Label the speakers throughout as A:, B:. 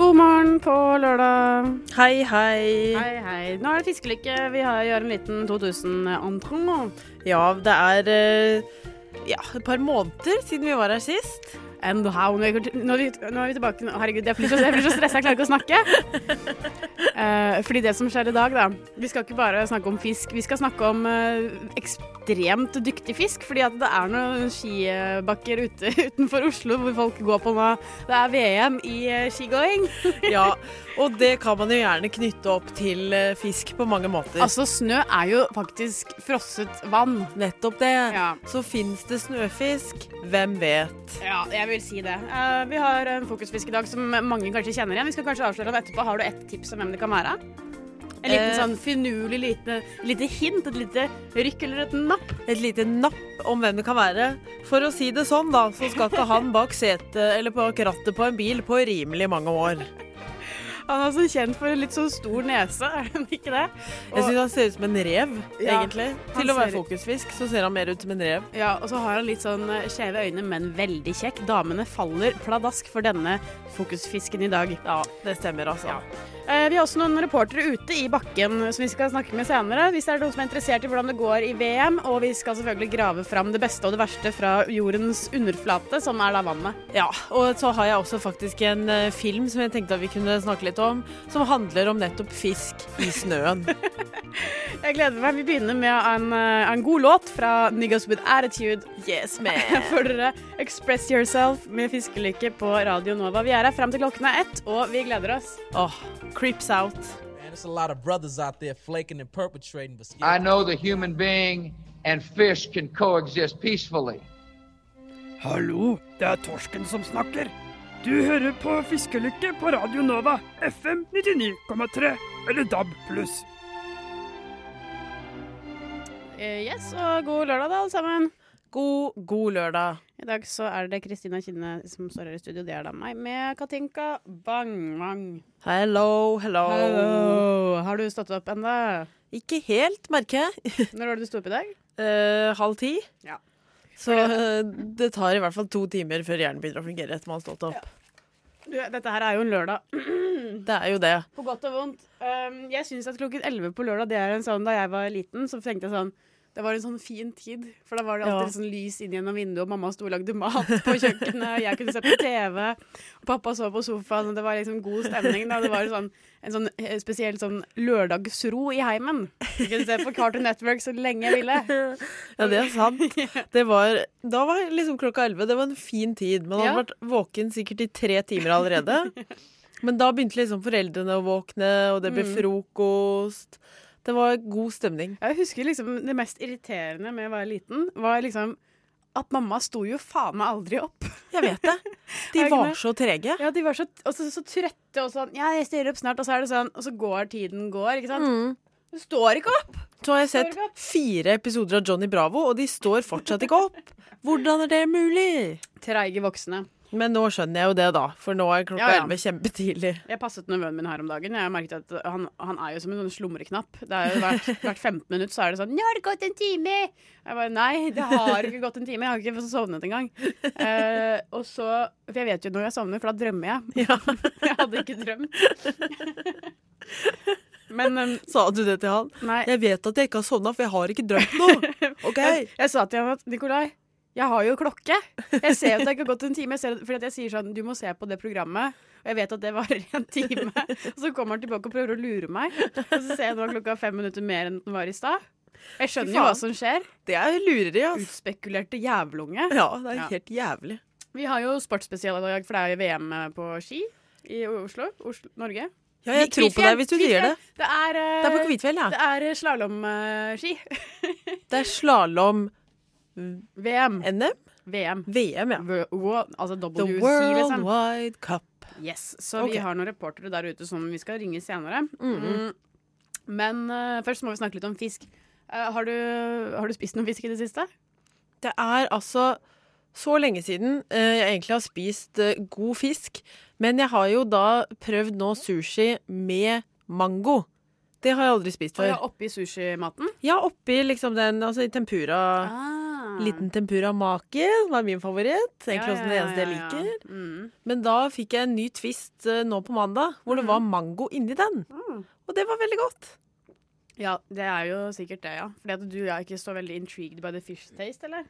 A: på lørdag.
B: Hei, hei.
A: Hei, hei. Nå er det fiskelykke. Vi har gjør en liten 2000-entrant.
B: Ja, det er eh, ja, et par måneder siden vi var her sist.
A: And how. Nå er, vi, nå er vi- nå er vi tilbake. nå- Herregud, jeg blir så, jeg blir så stressa, jeg klarer ikke å snakke. Eh, fordi det som skjer i dag, da Vi skal ikke bare snakke om fisk. Vi skal snakke om eh, ekstremt dyktig fisk. Fordi at det er noen skibakker ute utenfor Oslo hvor folk går på nå. Det er VM i eh, skigåing.
B: Ja, og det kan man jo gjerne knytte opp til eh, fisk på mange måter.
A: Altså, snø er jo faktisk frosset vann.
B: Nettopp det.
A: Ja.
B: Så fins det snøfisk. Hvem vet?
A: Ja, jeg vil si det. Eh, vi har en fokusfisk i dag som mange kanskje kjenner igjen. Vi skal kanskje avsløre det etterpå. Har du ett tips om hvem det kan være? En liten
B: Eh.
A: sånn finurlig lite, lite hint, et lite rykk eller et napp.
B: Et lite napp om hvem det kan være. For å si det sånn, da, så skal ikke han bak setet eller bak rattet på en bil på rimelig mange år.
A: Han er så kjent for en litt sånn stor nese, er han ikke det?
B: Jeg syns han ser ut som en rev,
A: Ja,
B: egentlig.
A: han
B: Til å være
A: ser-
B: fokusfisk så ser han mer ut som en rev.
A: Ja, og så har han litt sånn eh, skjeve øyne, men veldig kjekk. Damene faller pladask for denne fokusfisken i dag.
B: Ja, det stemmer, altså.
A: Ja. Eh, Vi har også noen reportere ute i bakken som vi skal snakke med senere. Hvis det er noen som er interessert i hvordan det går i VM. Og vi skal selvfølgelig grave fram det beste og det verste fra jordens underflate, som er da vannet.
B: Ja, og så har jeg også faktisk en eh, film som jeg tenkte at vi kunne snakke litt om, som handler om nettopp fisk i snøen.
A: Jeg gleder meg. Vi begynner med en, eh, en god låt fra Niggas With Attitude.
B: Yes,
A: Her får dere Express Yourself med fiskelykke på Radio Nova. Vi er her fram til klokken er ett, og vi gleder oss.
B: Åh, Crips Out.
C: Man, there's a lot of brothers out there flaking and perpetrating, but scared.
D: I know the human being and fish can coexist peacefully.
E: Hallo, det er Torsken som snakker. Du hører på Fiskelykke på Radio Nova, FM 99,3 eller DAB+.
A: Eh, Yes, og god lørdag, da, alle sammen.
B: God, god lørdag.
A: I dag så er det Kristina Kinne som står her i studio. Det er da meg, med Katinka Bang-Mang.
B: Hello, hello.
A: Hallo. Har du stått opp ennå?
B: Ikke helt, merker jeg.
A: Når var det du sto opp i dag?
B: Eh, halv ti.
A: Ja.
B: Så eh, det tar i hvert fall to timer før hjernen begynner å fungere etter man har stått opp.
A: Du, dette her er jo en lørdag.
B: Det er jo det.
A: På godt og vondt. Ehm, jeg syns at klokken 11 på lørdag, det er en sånn da jeg var liten, så tenkte jeg sånn det var en sånn fin tid, for da var det alltid
B: Ja.
A: sånn lys inn gjennom vinduet, og mamma sto og lagde mat på kjøkkenet, og jeg kunne se på TV, og pappa så på sofaen, og det var liksom god stemning. Da. Det var en sånn, en sånn eh, spesiell sånn lørdagsro i heimen. Jeg kunne se på Cartoon Network så lenge jeg ville.
B: Ja, det er sant. Det var, da var liksom klokka elleve. Det var en fin tid. Man hadde
A: Ja.
B: vært våken sikkert i tre timer allerede. Men da begynte liksom foreldrene å våkne, og det ble
A: Mm.
B: frokost. Det var god stemning.
A: Jeg husker liksom det mest irriterende med å være liten, var liksom at mamma sto jo faen meg aldri opp.
B: Jeg vet det. De
A: Er det ikke
B: var
A: det?
B: så trege.
A: Ja, de var så, og så, så trøtte og sånn Ja, jeg stiller opp snart, og så er det sånn, og så går tiden går, ikke sant?
B: Mm.
A: Hun står ikke opp!
B: Så har jeg sett fire episoder av Johnny Bravo, og de står fortsatt ikke opp. Hvordan er det mulig?
A: Treige voksne.
B: Men nå skjønner jeg jo det, da. For nå er klokka
A: Ja, ja.
B: elleve kjempetidlig.
A: Jeg passet nevøen min her om dagen. Jeg merket at Han, han er jo som en sånn slumreknapp. Det er jo hvert, hvert 15 minutt så er det sånn 'Nå har det gått en time!' Jeg bare Nei, det har ikke gått en time. Jeg har ikke fått sovnet engang. Eh, og så For jeg vet jo når jeg sovner, for da drømmer jeg.
B: Ja.
A: Jeg hadde ikke drømt. Men um,
B: Sa du det til han?
A: nei.
B: Jeg vet at jeg ikke har sovna, for jeg har ikke drømt noe. OK?
A: Jeg, jeg sa til ham at Nikolai, jeg har jo klokke. Jeg ser at det ikke har gått en time. Jeg ser, at- fordi at jeg sier sånn, du må se på det programmet. Og jeg vet at det varer en time. Og så kommer han tilbake og prøver å lure meg. Og så ser jeg nå klokka er fem minutter mer enn den var i stad. Jeg skjønner jo
B: Fy faen.
A: hva som skjer.
B: Det er lureri, altså.
A: Utspekulerte jævlunge.
B: Ja, det er
A: Ja.
B: helt jævlig.
A: Vi har jo sportsspesial i dag, for det er jo VM på ski i Oslo. Oslo Norge.
B: Ja, jeg tror på deg hvis du sier det.
A: Det er, eh,
B: Det er på Kvitfjell, ja.
A: det er eh, slalåmski.
B: Det er slalåm
A: VM.
B: NM?
A: VM.
B: VM, ja.
A: Wo- wo- Altså WC,
B: The
A: liksom.
B: World Wide Cup.
A: Yes, så
B: Ok. Mm-hmm.
A: vi har noen reportere der ute som vi skal ringe senere. Mm. Men eh, først må vi snakke litt om fisk. Eh, har, du, har du spist noe fisk i det siste?
B: Det er altså så lenge siden eh, jeg egentlig har spist eh, god fisk, men jeg har jo da prøvd nå sushi med mango. Det har jeg aldri spist
A: Og ja,
B: før.
A: oppi sushimaten? Ah.
B: Ja, oppi liksom den, altså i tempura. Liten tempura maki var min favoritt. Egentlig også den eneste jeg altså, liker.
A: Mm.
B: Men da fikk jeg en ny twist eh, nå på mandag, hvor det var
A: Mhm.
B: mango inni den.
A: Mm.
B: Og det var veldig godt.
A: Ja, det er jo sikkert det, ja. Fordi at du er ikke så veldig intrigued by the fish taste, eller?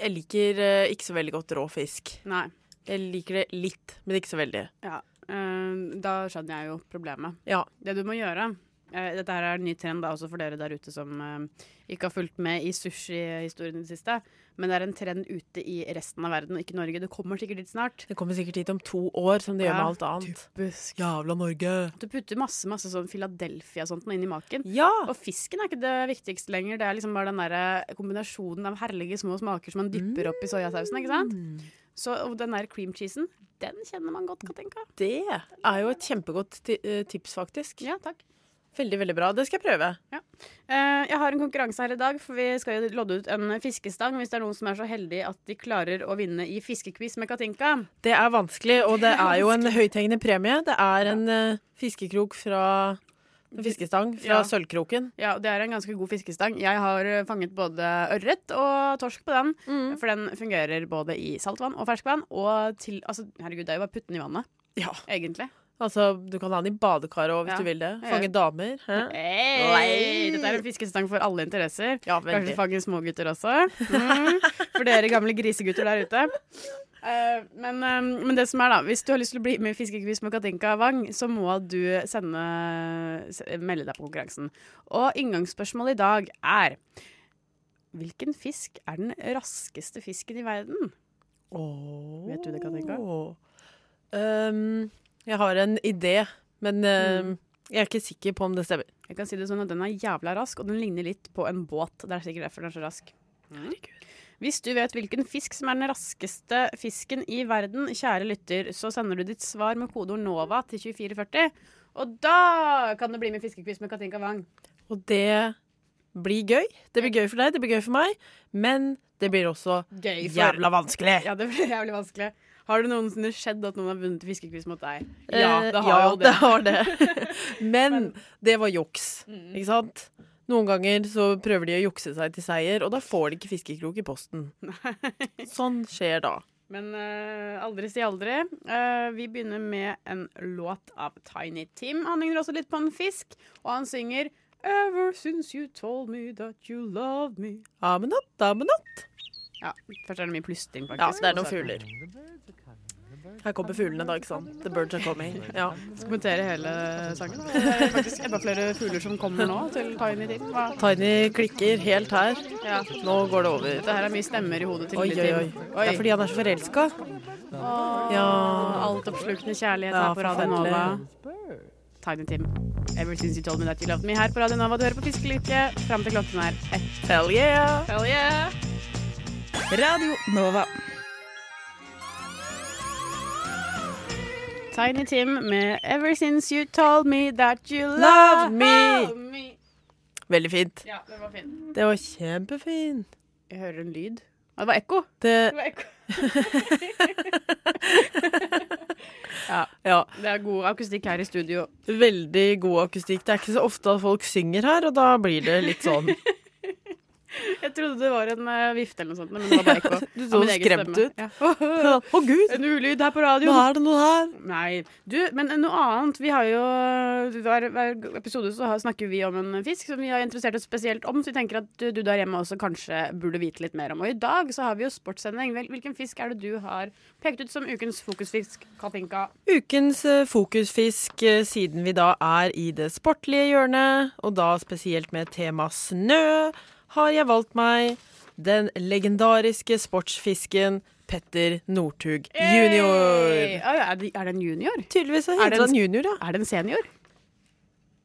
B: Jeg liker eh, ikke så veldig godt rå fisk.
A: Nei.
B: Jeg liker det litt, men ikke så veldig.
A: Ja. eh, da skjønner jeg jo problemet.
B: Ja.
A: Det du må gjøre eh, Dette her er en ny trend da, også for dere der ute som eh, ikke har fulgt med i sushihistorien i det siste. Men det er en trend ute i resten av verden, og ikke Norge. Du kommer sikkert dit snart.
B: Det kommer sikkert hit om to år, som det gjør med
A: Ja,
B: alt annet. Jævla Norge!
A: Du putter masse masse sånn Philadelphia og sånt nå inn i maken.
B: Ja!
A: Og fisken er ikke det viktigste lenger. Det er liksom bare den der kombinasjonen av herlige små smaker som man dypper
B: Mm.
A: opp i soyasausen. ikke sant? Så og den der cream cheesen, den kjenner man godt, Katinka.
B: Det er jo et kjempegodt ti- eh, tips, faktisk.
A: Ja, takk.
B: Veldig, veldig bra. Det skal jeg prøve.
A: Eh, jeg har en konkurranse her i dag, for vi skal jo lodde ut en fiskestang hvis det er noen som er så heldig at de klarer å vinne i fiskequiz med Katinka.
B: Det er vanskelig, og det er jo en høythengende premie. Det er en eh, fiskekrok fra en fiskestang fra
A: Ja.
B: sølvkroken.
A: Ja, og Det er en ganske god fiskestang. Jeg har eh, fanget både ørret og torsk på den. For den fungerer både i saltvann og ferskvann. Og til Altså, herregud, det er jo bare å putte den i vannet,
B: Ja.
A: egentlig.
B: Altså, du kan ha den i badekaret òg, hvis
A: Ja.
B: du vil det.
A: Ja, ja.
B: Fange damer. Hæ?
A: Hey, dette er en fiskestang for alle interesser.
B: Ja,
A: Kanskje
B: veldig.
A: fange smågutter også. Mm. For dere gamle grisegutter der ute. Eh, men, eh, men det som er da hvis du har lyst til å bli med i Fiskequiz med Katinka Wang, så må du sende, s- melde deg på konkurransen. Og inngangsspørsmålet i dag er Hvilken fisk er den raskeste fisken i verden?
B: Åh.
A: Vet du det, Katinka?
B: Um, Oh. jeg har en idé, men um, jeg er ikke sikker på om det stemmer.
A: Jeg kan si det sånn at Den er jævla rask, og den ligner litt på en båt. Det er sikkert derfor den er så rask. Hvis du vet hvilken fisk som er den raskeste fisken i verden, kjære lytter, så sender du ditt svar med kodeord NOVA til 2440. Og da kan det bli med fiskequiz med Katinka Wang.
B: Og det blir gøy. Det blir gøy for deg, det blir gøy for meg, men det blir også
A: Gøy
B: jævla vanskelig.
A: Ja, det blir jævlig vanskelig. Har det noensinne skjedd at noen har vunnet fiskequiz mot deg?
B: Eh,
A: jo
B: det har det. Men, Mm. det var juks, ikke sant? Noen ganger så prøver de å jukse seg til seier, og da får de ikke fiskekrok i posten. Sånn skjer da.
A: Men eh, aldri si aldri. Eh, vi begynner med en låt av Tiny Tim. Han ligner også litt på en fisk, og han synger Ever since you told me that you love me.
B: Amenatt, amenatt.
A: Ja, Først er det mye plystring,
B: Ja,
A: faktisk.
B: det er noen fugler. Her kommer fuglene da, ikke sant? The birds are coming. Ja.
A: Skal kommentere hele sangen. da. Det er faktisk enda flere fugler som kommer nå til Tiny Tim. Hva?
B: Tiny klikker helt her.
A: Ja.
B: Nå går det over.
A: Det her er mye stemmer i hodet til
B: Oi, oi,
A: Lille
B: oi.
A: Tim.
B: Det er fordi han er så forelska. Ja.
A: Altoppslukende kjærlighet
B: Ja,
A: her på Radio
B: forferdelig.
A: Nova. Tiny Tim. Ever since you told me that you loved me her på Radio Nova. Du hører på Fiskelykke fram til klokken er ett.
B: Hell yeah!
A: Hell yeah!
F: Radio Nova.
A: Tiny Tim med Ever Since You Told Me That You Love
B: Love me.
A: Me.
B: Veldig fint.
A: Ja, den var fin.
B: Det var kjempefint.
A: Jeg hører en lyd. Å, det var ekko.
B: Det,
A: Det, var ekko.
B: ja.
A: det er god akustikk her i studio.
B: Veldig god akustikk. Det er ikke så ofte at folk synger her, og da blir det litt sånn
A: Jeg trodde det var en eh, vifte eller noe sånt, men det var bare ekko.
B: Du
A: Av
B: så
A: min egen
B: skremt
A: stemme.
B: ut.
A: Ja.
B: Å, gud!
A: En ulyd her på
B: Nå
A: radioen.
B: er det noe her.
A: Nei. Du, men noe annet. Vi har jo Hver, hver episode så har, snakker vi om en fisk som vi har interessert oss spesielt om, så vi tenker at du, du der hjemme også kanskje burde vite litt mer om. Og i dag så har vi jo sportssending. Vel, Hvilken fisk er det du har pekt ut som ukens fokusfisk, Katinka?
B: Ukens eh, fokusfisk, eh, siden vi da er i det sportlige hjørnet, og da spesielt med tema snø, har jeg valgt meg den legendariske sportsfisken Petter Northug jr.
A: Hey! Å, ja, Er det, er det en junior?
B: Tydeligvis så
A: Er det
B: heter
A: en-
B: han junior, ja.
A: Er det en senior?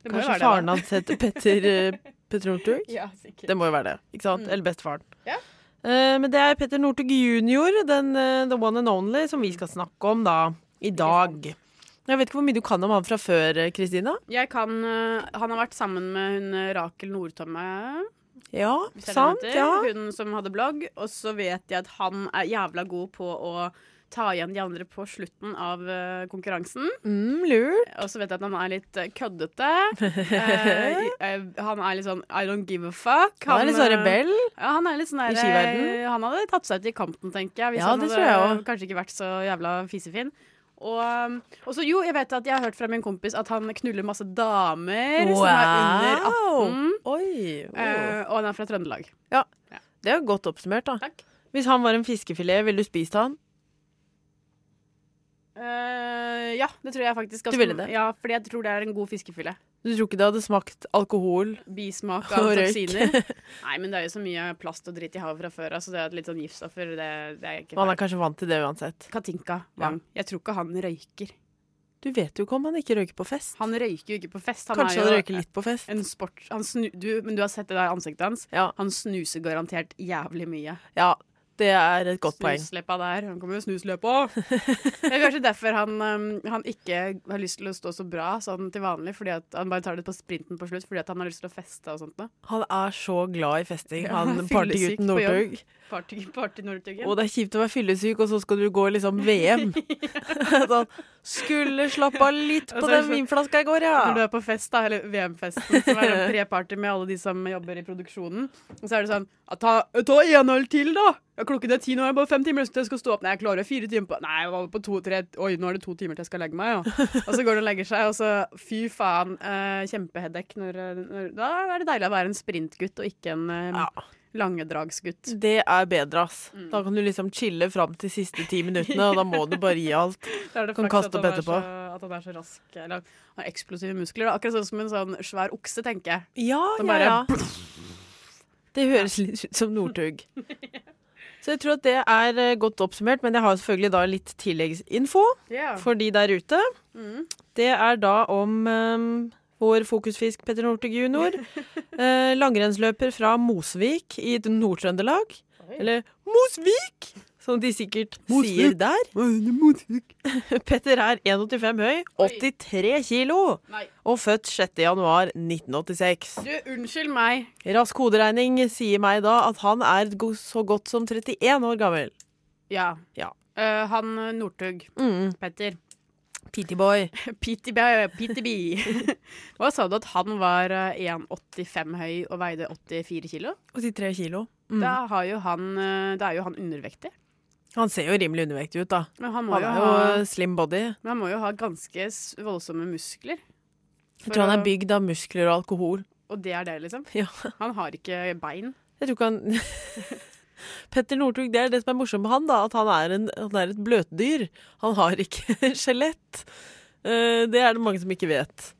A: Det må jo
B: Kanskje
A: være det,
B: faren
A: da.
B: hans heter Petter, eh, Petter Northug?
A: Ja, sikkert.
B: Det må jo være det, ikke sant? Eller bestefaren.
A: Ja.
B: Eh, men det er Petter Northug jr., den eh, the one and only, som vi skal snakke om da, i dag. Jeg vet ikke hvor mye du kan om han fra før, eh, Kristina?
A: Jeg kan eh, Han har vært sammen med hun eh, Rakel Nordtomme.
B: Ja,
A: hvis jeg
B: sant?
A: heter,
B: Ja.
A: Hun som hadde blogg. Og så vet jeg at han er jævla god på å ta igjen de andre på slutten av eh, konkurransen.
B: Mm, lurt.
A: Og så vet jeg at han er litt eh, køddete. Eh, eh, han er litt sånn I don't give a fuck.
B: Han er litt sånn
A: eh,
B: rebell.
A: Ja, han er litt sånn der,
B: I skiverdenen.
A: eh, Han hadde tatt seg ut i kanten, tenker jeg. Hvis
B: Ja,
A: han
B: det
A: hadde
B: tror jeg også.
A: kanskje ikke vært så jævla fisefin. Og, um, og så jo, jeg vet at jeg har hørt fra min kompis at han knuller masse damer som er under 18.
B: Oh. Oi. wow.
A: eh, og han er fra Trøndelag.
B: Det er jo godt oppsummert, da.
A: Takk.
B: Hvis han var en fiskefilet, ville du spist han?
A: Eh, ja, det tror jeg faktisk. ganske-
B: Du ville det?
A: Ja, fordi jeg tror det er en god fiskefille.
B: Du tror ikke det hadde smakt alkohol?
A: Bismak av
B: Og røyk.
A: toksiner. Nei, men det er jo så mye plast og dritt i havet fra før, altså det er litt sånn giftstoffer, det, det er ikke
B: Men han er kanskje vant til det uansett.
A: Katinka Wang. Jeg tror ikke han røyker.
B: Du vet jo ikke om han ikke røyker på fest.
A: Han røyker jo ikke på fest. Han
B: kanskje
A: er
B: han
A: jo
B: røyker litt på fest.
A: en sport han snu, du, Men du har sett det der ansiktet hans?
B: Ja,
A: Han snuser garantert jævlig mye.
B: ja, det er et godt poeng.
A: Snusleppa der. Han kommer jo snusløpa! Det er kanskje derfor han, um, han ikke har lyst til å stå så bra sånn til vanlig. Fordi at Han bare tar det på sprinten på slutt fordi at han har lyst til å feste og sånt. Da.
B: Han er så glad i festing,
A: Ja,
B: han
A: fyllesyk
B: partygutten
A: på jobb.
B: Northug.
A: Party, party Northugen.
B: Og det er kjipt å være fyllesyk, og så skal du gå i liksom VM. sånn, skulle slappe av litt
A: Og
B: på
A: så er det
B: den
A: så-
B: vinflaska i går,
A: Når du
B: ja.
A: er på fest, da, eller VM-festen, som er en preparty med alle de som jobber i produksjonen, og så er det sånn «Ja, Ta, ta en øl til, da! Ja, klokken er ti, nå har jeg bare fem timer til jeg skal stå opp. Nei, jeg klarer fire timer på Nei, jeg var på to-tre Oi, nå er det to timer til jeg skal legge meg, ja. Og så går du og legger seg, og så Fy faen, eh, kjempeheadache når, eh, når Da er det deilig å være en sprintgutt og ikke en eh,
B: Ja.
A: langedragsgutt.
B: Det er bedre, ass. Da kan du liksom chille fram til siste ti minuttene, og da må du bare gi alt.
A: Da er det
B: Kan
A: flaks at
B: kaste
A: han
B: opp
A: er
B: etterpå.
A: så- At han er så rask. Eller har eksplosive muskler. Da. Akkurat sånn som en sånn svær okse, tenker jeg.
B: Ja,
A: Som
B: ja,
A: bare-
B: ja. Det høres litt ut som Northug. Så jeg tror at det er eh, godt oppsummert, men jeg har selvfølgelig da litt tilleggsinfo for de der ute. Det er da om eh, vår fokusfisk Petter Northug jr. eh, langrennsløper fra Mosvik i Nord-Trøndelag. Eller Mosvik, som de sikkert sier der. Petter er 1,85 høy, 83 kilo
A: Nei.
B: og født 6. januar 1986.
A: Du, unnskyld meg.
B: Rask hoderegning sier meg da at han er go- så godt som 31 år gammel.
A: Ja.
B: Ja.
A: Eh, han eh, Northug,
B: Mm.
A: Petter.
B: Pittyboy.
A: Pitty Bæ- Pitty Bee. Hva sa du at han var eh, 1,85 høy og veide 84 kilo?
B: 83 kilo. Mm.
A: Da, har jo han, eh, da er jo han undervektig.
B: Han ser jo rimelig undervektig ut, da.
A: Men han må,
B: Han
A: jo
B: er
A: ha,
B: jo slim body.
A: men han må jo ha ganske s- voldsomme muskler.
B: Jeg tror han
A: å-
B: er bygd av muskler og alkohol.
A: Og det er det, liksom?
B: Ja.
A: Han har ikke bein.
B: Jeg tror ikke han Petter Northug, det er det som er morsomt med han, da. At han er, en, han er et bløtdyr. Han har ikke skjelett. Eh, Det er det mange som ikke vet.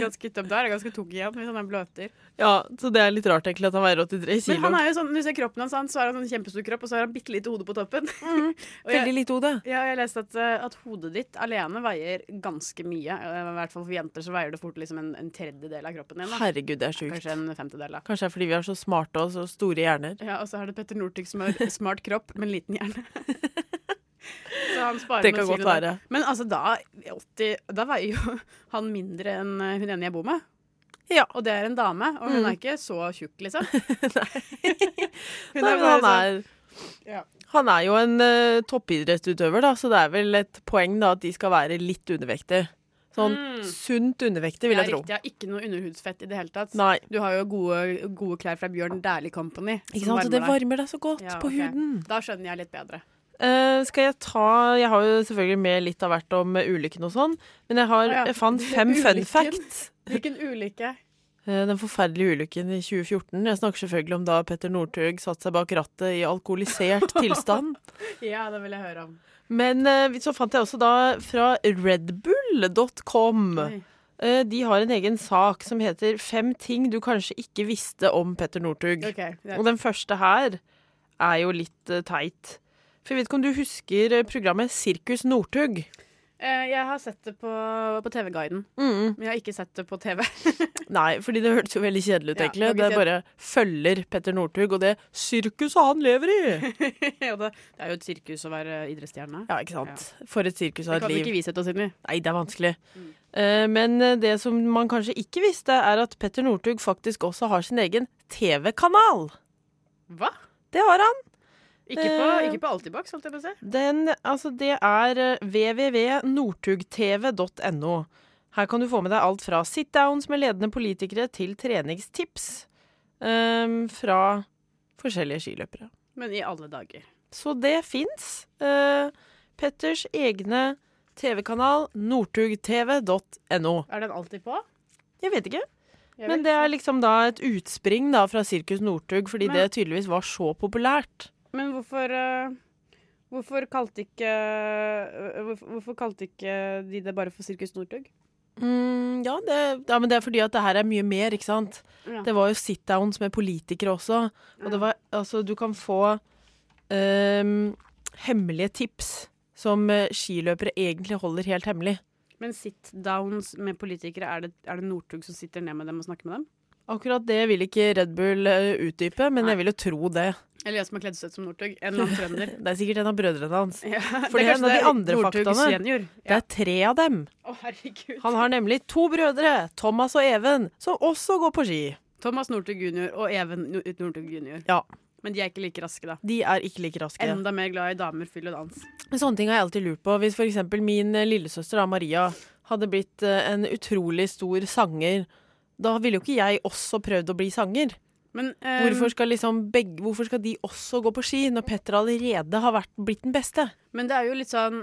A: Ganske tømt der, er ganske tung igjen hvis han er bløter.
B: Ja, Så det er litt rart, egentlig, at han veier 83
A: Men
B: kilo.
A: han er jo sånn, når du ser kroppen hans, han, så har han sånn kjempestor kropp, og så har han bitte lite hode på toppen.
B: Mm.
A: Og jeg-
B: Veldig lite hode.
A: Ja, jeg leste at, eh, at hodet ditt alene veier ganske mye. Eh, I hvert fall for jenter så veier det fort liksom en, en tredjedel av kroppen din. Da.
B: Herregud, det er sjukt.
A: Kanskje en femtedel. da.
B: Kanskje det er fordi vi er så smarte og så store hjerner.
A: Ja, Og så har du Petter Northug som har smart kropp, men liten hjerne. så han sparer
B: Det
A: noen
B: kan godt
A: kilo der.
B: være.
A: Men altså, da, 80, da veier jo han mindre enn eh, hun ene jeg bor med.
B: Ja.
A: Og det er en dame, og hun
B: Mm.
A: er ikke så tjukk, liksom. hun
B: Nei,
A: er
B: men
A: bare
B: han
A: sånn
B: er,
A: Ja.
B: han er jo en eh, toppidrettsutøver, da, så det er vel et poeng da at de skal være litt undervektige. Sånn
A: Mm.
B: sunt undervektige,
A: Det
B: vil
A: er
B: jeg tro.
A: riktig, jeg har ikke noe underhudsfett i det hele tatt.
B: Nei.
A: Du har jo gode, gode klær fra Bjørn Dæhlie Company.
B: Ikke
A: som
B: sant? Og det
A: varmer deg.
B: varmer deg så godt
A: Ja,
B: på
A: ok.
B: huden.
A: Da skjønner jeg litt bedre.
B: Eh, skal jeg ta Jeg har jo selvfølgelig med litt av hvert om eh, ulykken og sånn, men jeg, har,
A: Å ja,
B: jeg fant fem fun
A: ulykken.
B: facts.
A: Hvilken ulykke?
B: Eh, Den forferdelige ulykken i 2014. Jeg snakker selvfølgelig om da Petter Northug satte seg bak rattet i alkoholisert tilstand.
A: Ja, det vil jeg høre om.
B: Men eh, så fant jeg også da fra redbull.com.
A: Oi.
B: Eh, De har en egen sak som heter 'Fem ting du kanskje ikke visste om Petter Northug'.
A: Ok,
B: Og den første her er jo litt eh, teit. For jeg vet ikke om du husker eh, programmet Sirkus Northug?
A: Eh, Jeg har sett det på, på TV-guiden,
B: Mm.
A: men jeg har ikke sett det på TV.
B: Nei, fordi det hørtes jo veldig kjedelig ut,
A: Ja,
B: egentlig.
A: det
B: det
A: var
B: er
A: ikke
B: bare følger Petter Northug og det sirkuset han lever i!
A: Og det, det er jo et sirkus å være idrettsstjerne.
B: Ja, ikke sant. For et sirkus
A: Det
B: av et
A: kan
B: liv.
A: ikke vi sette oss inn i.
B: Nei, det er vanskelig. Eh, Men eh, det som man kanskje ikke visste, er at Petter Northug faktisk også har sin egen TV-kanal.
A: Hva?
B: Det har han.
A: Ikke på, ikke på Altibox, holdt jeg på å si.
B: Den, altså det er eh, www.northugtv.no. Her kan du få med deg alt fra sit-downs med ledende politikere til treningstips eh, fra forskjellige skiløpere.
A: Men i alle dager.
B: Så det fins. Eh, Petters egne TV-kanal northugtv.no.
A: Er den alltid på?
B: Jeg vet ikke.
A: Jeg
B: Men
A: vet
B: det
A: ikke.
B: er liksom da et utspring da fra Sirkus Northug, fordi
A: Men-
B: det tydeligvis var så populært.
A: Men hvorfor eh, Hvorfor kalte ikke eh, hvorfor, hvorfor kalte ikke de det bare for Sirkus Northug?
B: Mm, ja, det, ja, men det er fordi at det her er mye mer, ikke sant?
A: Ja.
B: Det var jo sit-downs med politikere også. Og det var, altså, du kan få ehm, hemmelige tips som eh, skiløpere egentlig holder helt hemmelig.
A: Men sit-downs med politikere, er det, er det Northug som sitter ned med dem og snakker med dem?
B: Akkurat det vil ikke Red Bull eh, utdype, men
A: Nei.
B: jeg vil jo tro det.
A: Eller jeg som er kledd ut som Northug. En eller annen trønder.
B: Det er sikkert en av brødrene hans.
A: Ja,
B: For det er en av de andre faktaene.
A: Senior.
B: Det
A: Ja.
B: er tre av dem.
A: Å, herregud.
B: Han har nemlig to brødre, Thomas og Even, som også går på ski.
A: Thomas Northug jr. og Even No- Northug jr.
B: Ja,
A: Men de er ikke like raske, da.
B: de er ikke like raske.
A: Enda mer glad i damer, fyll og dans.
B: Men Sånne ting har jeg alltid lurt på. Hvis for eksempel min eh, lillesøster da, Maria hadde blitt eh, en utrolig stor sanger, da ville jo ikke jeg også prøvd å bli sanger.
A: Men eh,
B: Hvorfor skal, liksom begge, hvorfor skal de også gå på ski, når Petter allerede har vært, blitt den beste?
A: Men det er jo litt sånn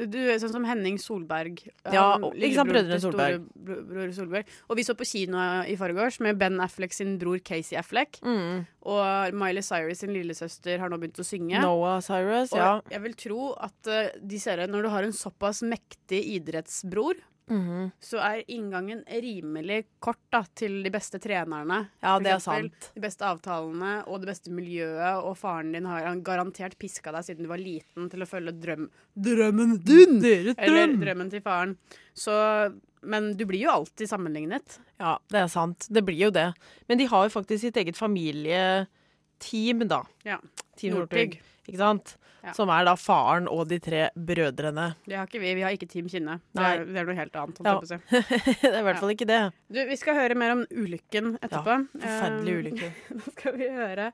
A: du er Sånn som Henning Solberg.
B: Ja,
A: Han
B: og- ikke sant,
A: lillebror til
B: Brødrene Solberg.
A: store bro- Bror Solberg. Og vi så på kino eh, i forgårs med Ben Affleck sin bror Casey Affleck.
B: Mm,
A: Og Miley Cyrus sin lillesøster har nå begynt å synge.
B: Noah Cyrus,
A: Og
B: ja.
A: jeg vil tro at eh, de ser at når du har en såpass mektig idrettsbror,
B: Mhm.
A: så er inngangen rimelig kort da, til de beste trenerne.
B: Ja,
A: For
B: det er
A: eksempel,
B: sant.
A: De beste avtalene og det beste miljøet, og faren din har han garantert piska deg siden du var liten til å følge drøm drømmen din!
B: Deres
A: Eller drømmen til faren. Så, men du blir jo alltid sammenlignet.
B: Ja, det er sant. Det blir jo det. Men de har jo faktisk sitt eget familieteam, da.
A: Ja.
B: Team
A: Northug.
B: Northug. Ikke sant?
A: Ja.
B: Som er da faren og de tre brødrene.
A: Det har ikke vi. Vi har ikke Team Kinne. Det
B: Nei.
A: er, det er noe helt annet. holdt
B: Ja.
A: jeg på å si.
B: det er i hvert fall ikke det.
A: Du, vi skal høre mer om ulykken etterpå.
B: Forferdelig
A: Eh,
B: ulykke.
A: Nå skal vi høre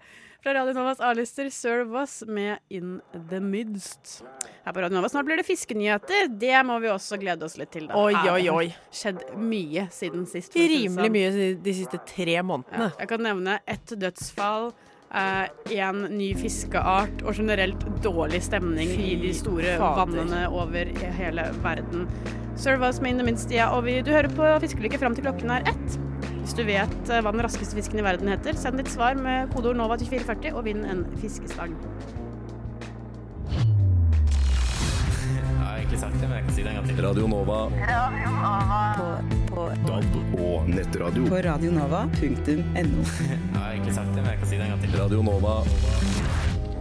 A: fra Radio Novas A-lister Sir Voss med In The Midst. Her på Radio Nova snart blir det fiskenyheter. Det må vi også glede oss litt til. Da.
B: Oi,
A: Er
B: oi,
A: det
B: oi.
A: Skjedd mye siden sist. for å si det
B: Rimelig
A: sånn.
B: mye de- de siste tre
A: Ja.
B: månedene.
A: Jeg kan nevne ett dødsfall, én ny fiskeart og generelt dårlig stemning
B: Fy
A: i de store
B: fader.
A: vannene over i hele verden. Serve us med In the Minst, ja, og vi, du hører på Fiskelykke fram til klokken er ett. Hvis du vet eh, hva den raskeste fisken i verden heter, send ditt svar med kodeord NOVA til 2440 og vinn en fiskestang.
G: Jeg har egentlig sagt det, men jeg kan si det en gang til.
H: Radio Nova
F: På, på,
H: DAB og nettradio.
F: på radionova.no.
G: Jeg har egentlig sagt det, men jeg kan si det en gang til.
H: Radio Nova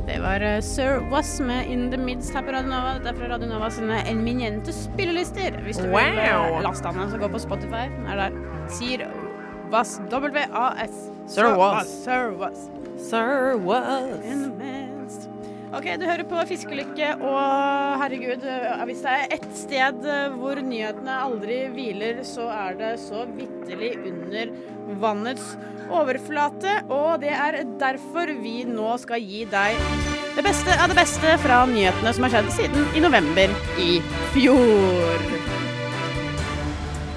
A: Det var eh, Sir Was med In The Midst her på Radio Nova. Dette er fra Radio Nova sine eminente spillelister. Hvis du vil eh,
B: Wow.
A: laste an den, så gå på Spotify. Den er der. Sir Was. W-A-S.
B: Sir Was.
A: Sir Was.
B: Sir
A: In
B: was
A: the midst. OK, du hører på Fiskelykke, og herregud, eh, hvis det er ett sted eh, hvor nyhetene aldri hviler, så er det så vitterlig under vannets overflate, og det er derfor vi nå skal gi deg det beste av det beste fra nyhetene som har skjedd siden i november i fjor.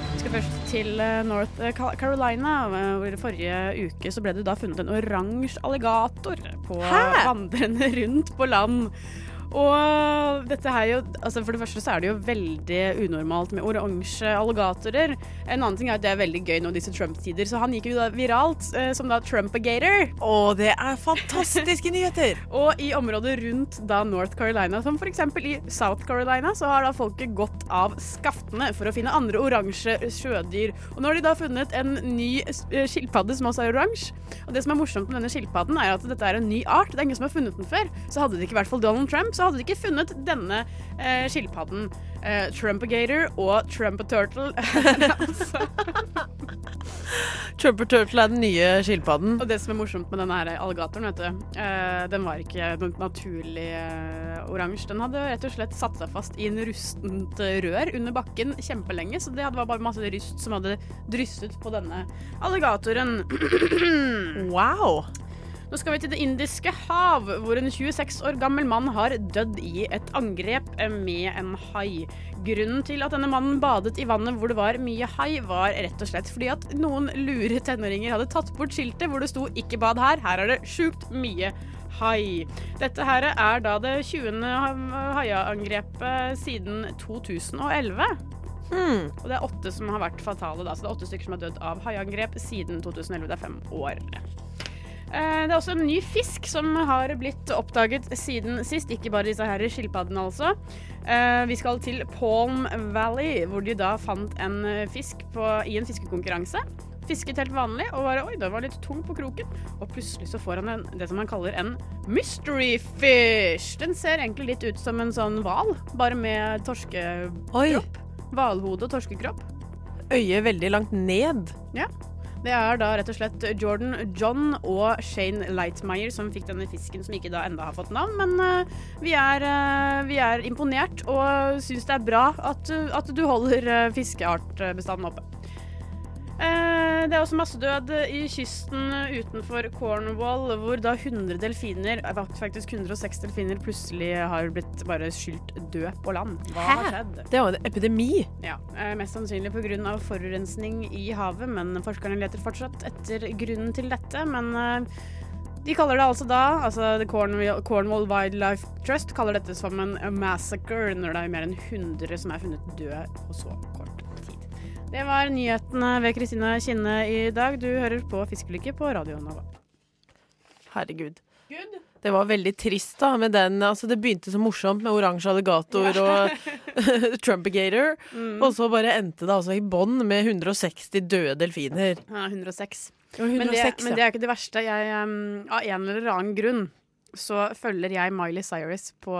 A: Vi skal først til eh, North Cal- Carolina, eh, hvor forrige uke så ble det da funnet en oransje alligator på
B: Hæ?
A: vandrende rundt på land. Og dette her jo, altså for det første så er det jo veldig unormalt med oransje alligatorer. En annen ting er at det er veldig gøy nå i disse Trump-tider, så han gikk jo da viralt eh, som da Trump-agator.
B: Å, det er fantastiske nyheter!
A: Og i området rundt da North Carolina, som f.eks. i South Carolina, så har da folket gått av skaftene for å finne andre oransje sjødyr. Og nå har de da funnet en ny eh, skilpadde som også er oransje. Og det som er morsomt med denne skilpadden, er at dette er en ny art. Det er ingen som har funnet den før. Så hadde det ikke vært for Donald Trump, så hadde de ikke funnet denne eh, skilpadden. Eh, Trumpagator og Trumpaturtle. altså.
B: Trumper Turtle er den nye skilpadden.
A: Og det som er morsomt med denne her alligatoren, vet du, eh, den var ikke noe naturlig eh, oransje. Den hadde rett og slett satt seg fast i en rustent rør under bakken kjempelenge, så det hadde- var bare masse ryst som hadde drysset på denne alligatoren.
B: Wow!
A: Nå skal vi til Det indiske hav, hvor en 26 år gammel mann har dødd i et angrep med en hai. Grunnen til at denne mannen badet i vannet hvor det var mye hai, var rett og slett fordi at noen lure tenåringer hadde tatt bort skiltet hvor det sto 'ikke bad her', her er det sjukt mye hai. Dette her er da det 20. ha- haiangrepet siden 2011. Og det er åtte som har vært fatale, da. Så det er åtte stykker som har dødd av haiangrep siden 2011. Det er fem år. Eh, Det er også en ny fisk som har blitt oppdaget siden sist. Ikke bare disse her skilpaddene, altså. Eh, Vi skal til Palm Valley, hvor de da fant en eh, fisk på, i en fiskekonkurranse. Fisket helt vanlig og bare Oi, den var litt tung på kroken. Og plutselig så får han en, det som han kaller en mystery fish. Den ser egentlig litt ut som en sånn hval, bare med torske...
B: Oi.
A: Hvalhode og torskekropp.
B: Øyet veldig langt ned.
A: Det er da rett og slett Jordan John og Shane Lightmeyer som fikk denne fisken, som ikke da enda har fått navn. Men eh, vi, er, eh, vi er imponert og syns det er bra at, eh, at du holder eh, fiskeartbestanden oppe. Eh, Det er også massedød i kysten utenfor Cornwall, hvor da 100 delfiner, eh, faktisk 106 delfiner, plutselig har blitt bare skylt død på land. Hva har skjedd?
B: Det er jo en epidemi.
A: Ja, eh, Mest sannsynlig pga. forurensning i havet, men forskerne leter fortsatt etter grunnen til dette. Men eh, de kaller det altså da altså The Cornwall, Cornwall Wildlife Trust kaller dette som en massacre, når det er mer enn 100 som er funnet døde på så kort tid. Det var nyhetene ved Kristine Kinne i dag. Du hører på Fiskelykke på Radio Nova.
B: Herregud. Det var veldig trist, da. Med den, altså, det begynte så morsomt med oransje alligator og Trumpagator.
A: Mm.
B: Og så bare endte det altså i bånn med 160 døde delfiner.
A: Ja, 106. Men det,
B: 106,
A: men det er ikke det verste. Jeg, um, av en eller annen grunn så følger jeg Miley Cyrus på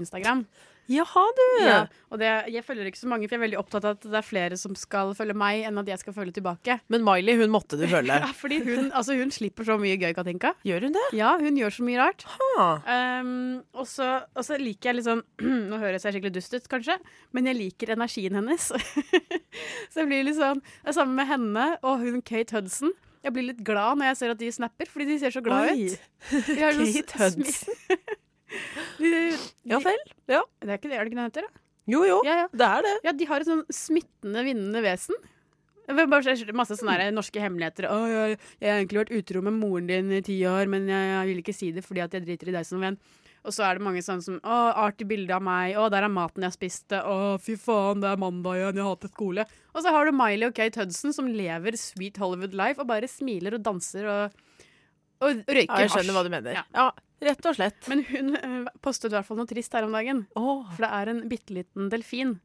A: Instagram.
B: ja. Jaha, du.
A: Ja, og det, jeg følger ikke så mange, for jeg er veldig opptatt av at det er flere som skal følge meg, enn at jeg skal følge tilbake.
B: Men Miley, hun måtte du følge.
A: Ja, fordi hun, altså, hun slipper så mye gøy, Katinka.
B: Gjør hun det?
A: Ja, hun gjør så mye rart.
B: Ah.
A: Um, og så og så liker jeg litt sånn Nå høres jeg skikkelig dust ut, kanskje, men jeg liker energien hennes. så jeg blir litt sånn Det er samme med henne og hun Kate Hudson. Jeg blir litt glad når jeg ser at de snapper, fordi de ser så glad
B: Oi.
A: ut. De har sånn
B: Kate
A: smi-
B: Hudson.
A: de,
B: Ja
A: de,
B: vel. Ja.
A: det er ikke det, er det ikke det hun heter? da?
B: Jo, jo.
A: Ja, ja.
B: Det er det.
A: Ja, de har et sånn smittende, vinnende vesen. Det var Bare så- masse sånne her norske hemmeligheter. Å, jeg, 'Jeg har egentlig vært utro med moren din i ti år, men jeg, jeg vil ikke si det fordi at jeg driter i deg som venn.' Og så er det mange sånne som 'Å, artig bilde av meg', 'Å, der er maten jeg spiste', 'Å, fy faen, det er mandag igjen, jeg hater skole'. Og så har du Miley og Kate Hudson som lever sweet Hollywood life og bare smiler og danser og, og røyker
B: Ja, jeg skjønner hva
A: hasj.
B: du mener.
A: Ja.
B: Ja, rett og slett.
A: Men hun eh, postet i hvert fall noe trist her om dagen.
B: Åh.
A: For det er en bitte liten delfin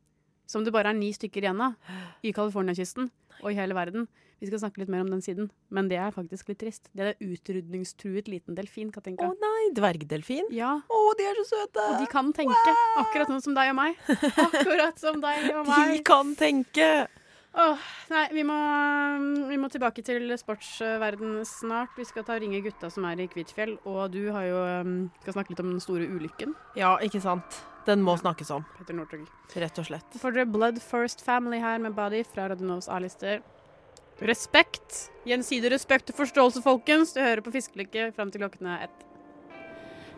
A: som det bare er ni stykker igjen av i Californiakysten og i hele verden. Vi skal snakke litt mer om den siden, men det er faktisk litt trist. Det er en utrydningstruet liten delfin,
B: Å
A: Katinka.
B: nei, dvergdelfin.
A: Ja,
B: Å, de er så søte! Ah,
A: og de kan tenke, akkurat sånn som deg og meg. Akkurat som deg og
B: De
A: meg.
B: kan tenke!
A: Åh, nei, vi må, vi må tilbake til sportsverden snart. Vi skal ta og ringe gutta som er i Kvitfjell, og du har jo, um, skal snakke litt om den store ulykken,
B: Ja, ikke sant. Den må snakkes om,
A: Petter Northug.
B: rett og slett.
A: Så får dere Blood First Family her med Body fra Radionovas A-lister. Respekt. Gjensidig respekt og forståelse, folkens. Du hører på Fiskelykke fram til klokken er ett.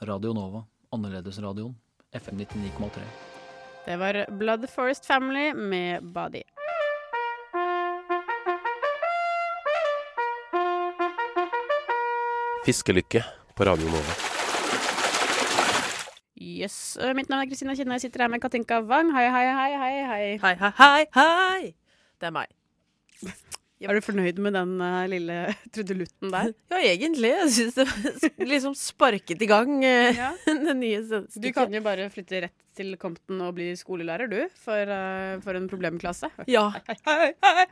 I: Radio Nova. Annerledesradioen. FM 99,3.
A: Det var Blood First Family med Body.
J: Fiskelykke på Radio Nova.
A: Yes. Eh, Mitt navn er Kristina Kinne. Jeg sitter her med Katinka Wang. Hei, hei, hei, hei. hei.
B: Hei, hei, hei, hei! Det er meg.
A: Er du fornøyd med den eh, lille trudelutten der?
B: Ja, egentlig. Jeg syns det var liksom sparket i gang eh,
A: Ja.
B: det nye stykket.
A: Du kan jo bare flytte rett til Compton og bli skolelærer, du. For, eh, for en problemklasse.
B: Ja.
A: Hei, hei, hei.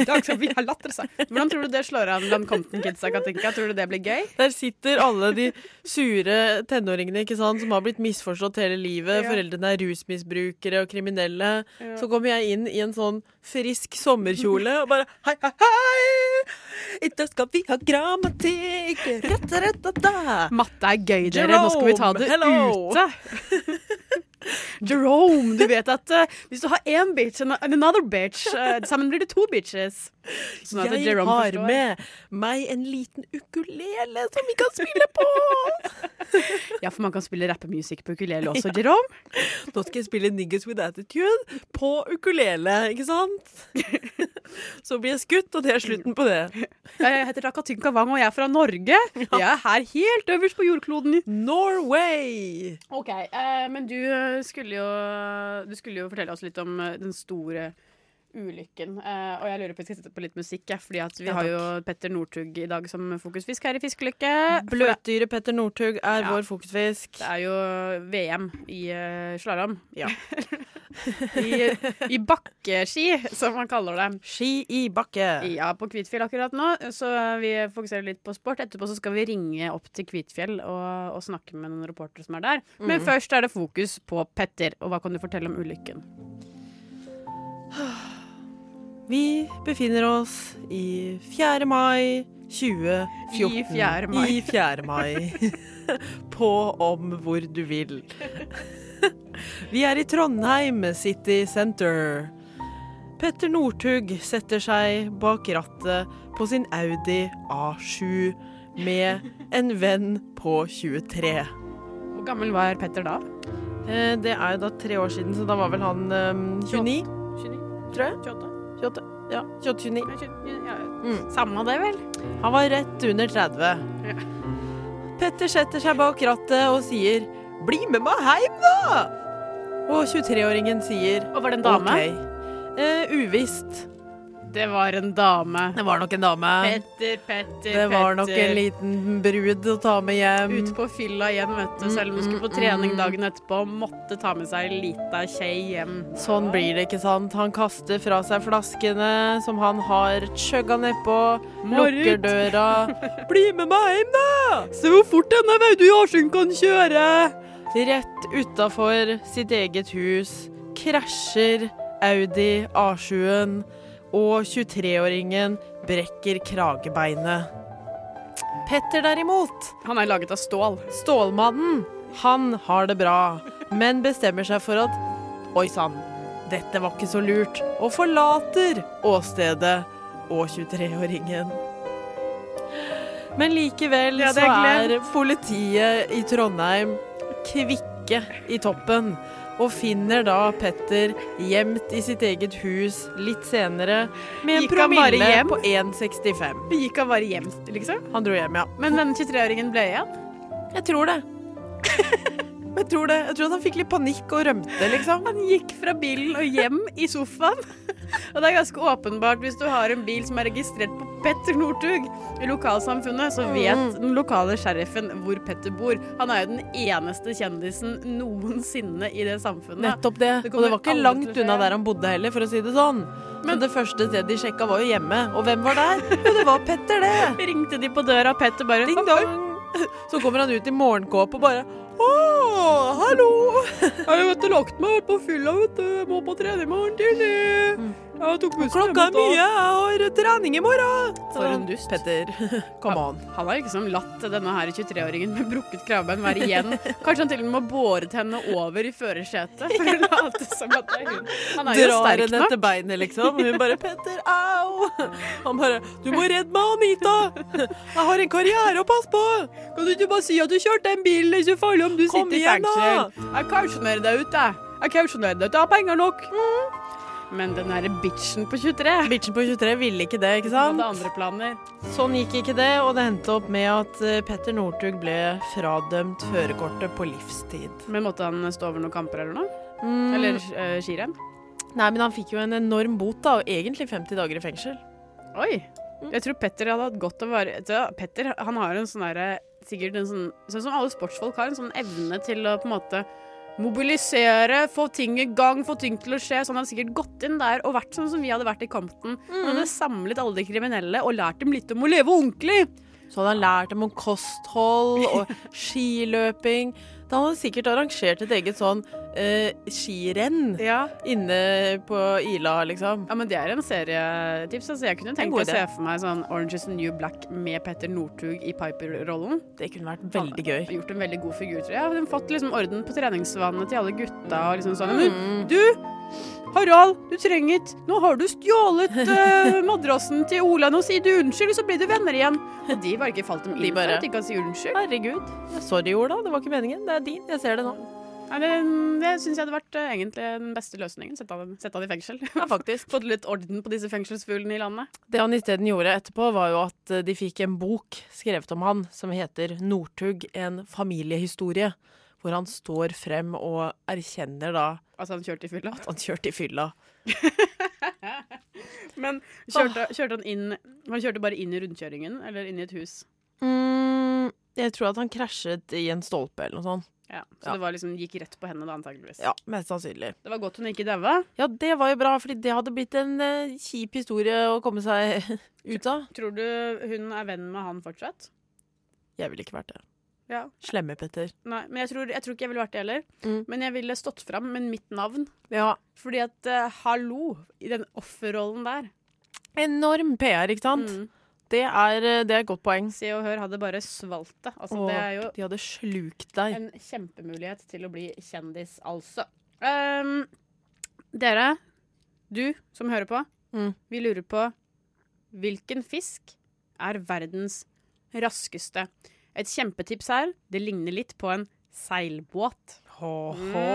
A: I dag skal vi ha latter, sa Hvordan tror du det slår an blant Compton-kidsa, Katinka? Tror du det blir gøy?
B: Der sitter alle de sure tenåringene ikke sant, som har blitt misforstått hele livet.
A: Ja.
B: Foreldrene er rusmisbrukere og kriminelle. Så kommer jeg inn i en sånn frisk sommerkjole og bare hei, hei, hei! I dag skal vi ha grammatikk! Rett, rett, rett, rett.
A: Matte er gøy, dere. Nå skal vi ta det
B: Jerome, hello.
A: ute. Jerome, du vet at eh, hvis du har én bitch and another bitch, eh, sammen blir det to bitches. Sånn at
B: Jeg
A: Jerome
B: har
A: forstår.
B: med meg en liten ukulele som vi kan spille på!
A: Ja, for man kan spille rappemusikk på ukulele også, Jerome.
B: Nå skal jeg spille Niggas With Attitude på ukulele, ikke sant? Så blir jeg skutt, og det er slutten på det.
A: Jeg heter Takatynka Wang, og jeg er fra Norge. Jeg er her helt øverst på jordkloden.
B: Norway!
A: Ok, eh, Men du eh, skulle, jo, du skulle jo fortelle oss litt om eh, den store ulykken. Eh, og jeg lurer på vi skal sette på litt musikk, jeg, fordi at vi
B: Ja,
A: har
B: takk.
A: jo Petter Northug i dag som fokusfisk her i Fiskelykke. For
B: Bløtdyret Petter Northug er
A: Ja.
B: vår fokusfisk.
A: Det er jo VM i uh, slalåm.
B: Ja.
A: I, I bakkeski, som man kaller det.
B: Ski i bakke.
A: Ja, på Kvitfjell akkurat nå, så vi fokuserer litt på sport. Etterpå så skal vi ringe opp til Kvitfjell og, og snakke med noen reportere som er der.
B: Mhm.
A: Men først er det fokus på Petter, og hva kan du fortelle om ulykken?
B: Vi befinner oss i 4. mai 2014.
A: I 4. mai.
B: I 4. mai. På om hvor du vil. Vi er i Trondheim City Center. Petter Northug setter seg bak rattet på sin Audi A7 med en venn på 23.
A: Hvor gammel var Petter da?
B: Eh, Det er jo da tre år siden, så da var vel han eh, 29?
A: 29?
B: Tror jeg.
A: 28?
B: Ja, 28-29.
A: Nei, 29, Ja.
B: Mm.
A: Samme det, vel?
B: Han var rett under 30.
A: Ja.
B: Petter setter seg bak rattet og sier 'bli med meg heim, da'! Og 23-åringen sier
A: Og var det en dame?
B: «Ok». Eh, uvisst.
A: Det var en dame.
B: Det var nok en dame.
A: Petter, Petter,
B: Det
A: Petter.
B: var nok en liten brud å ta med hjem.
A: Ute på fylla igjen, vet du. Selv om hun skulle på trening dagen etterpå, måtte ta med seg ei lita kje hjem.
B: Sånn blir det, ikke sant? Han kaster fra seg flaskene som han har chugga nedpå, lukker
A: Marit!
B: døra. 'Bli med meg hjem, da!' 'Se hvor fort denne Veiduyarsen kan kjøre!' Rett utafor sitt eget hus krasjer Audi A7-en, og 23-åringen brekker kragebeinet. Petter derimot
A: Han er laget av stål.
B: Stålmannen, han har det bra, men bestemmer seg for at Oi sann, dette var ikke så lurt, og forlater åstedet og 23-åringen. Men likevel
A: Ja, det
B: så
A: er
B: er
A: glemt.
B: politiet i Trondheim kvikke i toppen. Og finner da Petter gjemt i sitt eget hus litt senere med en
A: Gikk han bare
B: promille
A: hjem?
B: på 1,65.
A: Gikk han bare hjem, liksom?
B: Han dro hjem, ja.
A: Men den 23-åringen ble igjen?
B: Jeg tror det. Jeg tror det. Jeg tror at han fikk litt panikk og rømte, liksom.
A: Han gikk fra bilen og hjem i sofaen. Og det er ganske åpenbart hvis du har en bil som er registrert på Petter Northug i lokalsamfunnet, så vet
B: Mm.
A: den lokale sheriffen hvor Petter bor. Han er jo den eneste kjendisen noensinne i det samfunnet.
B: Nettopp det.
A: Det
B: og
A: kommer
B: det var ikke
A: aldri til å
B: langt
A: skje
B: unna
A: igjen.
B: der han bodde heller, for å si det sånn. Men det første stedet de sjekka, var jo hjemme. Og hvem var der? Jo, det var Petter, det.
A: Ringte de på døra, og Petter bare
B: Ding dong. Så kommer han ut i morgenkåpe og bare Åh, hallo!
A: Jeg vet du lagt meg her på fylla, vet du. Jeg må på trening i morgen tidlig. Jeg tok bussen
B: Mm. Klokka er mye, jeg har trening i morgen!
A: For en dust.
B: Petter, come on.
A: Han har liksom latt denne her 23-åringen med brukket kravbein være igjen. Kanskje han til og med har båret henne over i førersetet for å late som at det er hun. Han er jo
B: Drar
A: sterk
B: henne
A: nok.
B: etter beinet, liksom. Hun bare 'Petter, au!' Han bare 'Du må redde meg, Anita! Jeg har en karriere å passe på!'
A: Kan du ikke bare si at du kjørte en bil, det er så farlig om du
B: Kom
A: sitter i
B: igjen, da!
A: fengsel? Jeg kausjonerer deg ut, jeg. Jeg kausjonerer deg ut, jeg har penger nok. Men den derre bitchen på 23
B: Bitchen på 23 ville ikke det, ikke
A: hadde
B: sant?
A: andre planer.
B: Sånn gikk ikke det, og det endte opp med at eh, Petter Northug ble fradømt førerkortet på livstid.
A: Men måtte han stå over noen kamper eller noe?
B: Mm,
A: Eller uh, skirenn?
B: Nei, men han fikk jo en enorm bot, da, og egentlig 50 dager i fengsel.
A: Oi. Jeg tror Petter hadde hatt godt av å være Vet du hva, Petter han har en sånn derre Sikkert en sånn Sånn som alle sportsfolk har, en sånn evne til å på en måte mobilisere, få ting i gang, få ting til å skje. Så han hadde sikkert gått inn der og vært sånn som vi hadde vært i Compton. Han
B: Mm.
A: hadde samlet alle de kriminelle og lært dem litt om å leve ordentlig.
B: Så hadde han lært dem om kosthold og skiløping. Da hadde han sikkert arrangert et eget sånn eh, skirenn
A: Ja.
B: inne på Ila, liksom.
A: ja, men det er en serietips. Altså, jeg kunne tenkt å
B: god idé.
A: se for meg sånn Orange is the New Black med Petter Northug i Piper-rollen.
B: Det kunne vært veldig gøy.
A: Og Gjort en veldig god figur, tror jeg. Hun har fått liksom orden på treningsvanene til alle gutta og liksom sånn. Men
B: Mm.
A: du, Harald, du trenger ikke Nå har du stjålet eh, madrassen til Ola. Nå sier du unnskyld, så blir du venner igjen. Og de bare ikke falt dem
B: De
A: inn for
B: bare-
A: at de kan si unnskyld.
B: Herregud. Sorry, Ola. Det var ikke meningen. Det er din. Jeg ser det nå.
A: Nei, det det syns jeg hadde vært eh, egentlig den beste løsningen. Sette han, sette han i fengsel.
B: Ja, faktisk.
A: Fått litt orden på disse fengselsfuglene i landet.
B: Det han isteden gjorde etterpå, var jo at eh, de fikk en bok skrevet om han som heter 'Northug en familiehistorie', hvor han står frem og erkjenner da
A: Altså, han kjørte i fylla.
B: at han kjørte i fylla.
A: Men kjørte, kjørte han inn Han kjørte bare inn i rundkjøringen, eller inn i et hus.
B: Mm, jeg tror at han krasjet i en stolpe eller noe sånt.
A: Ja, så
B: Ja.
A: det var liksom, gikk rett på henne, da, antakeligvis.
B: Ja, Mest sannsynlig.
A: Det var godt hun ikke daua.
B: Ja, det var jo bra, fordi det hadde blitt en eh, kjip historie å komme seg ut av.
A: Tror du hun er venn med han fortsatt?
B: Jeg ville ikke vært det.
A: Ja.
B: Slemme, Petter.
A: Nei, men jeg tror, jeg tror ikke jeg ville vært det heller.
B: Mm.
A: Men jeg ville stått fram med mitt navn.
B: Ja.
A: Fordi at eh, hallo, i den offerrollen der
B: Enorm PR, ikke sant?
A: mm.
B: Det, er, eh, det er et godt poeng.
A: Se og Hør hadde bare svalt det. Altså,
B: Åh,
A: det er jo
B: de hadde slukt deg.
A: en kjempemulighet til å bli kjendis, altså. Ehm, dere, du som hører på,
B: Mm.
A: vi lurer på hvilken fisk er verdens raskeste? Et kjempetips her, det ligner litt på en seilbåt.
B: Ho-ho!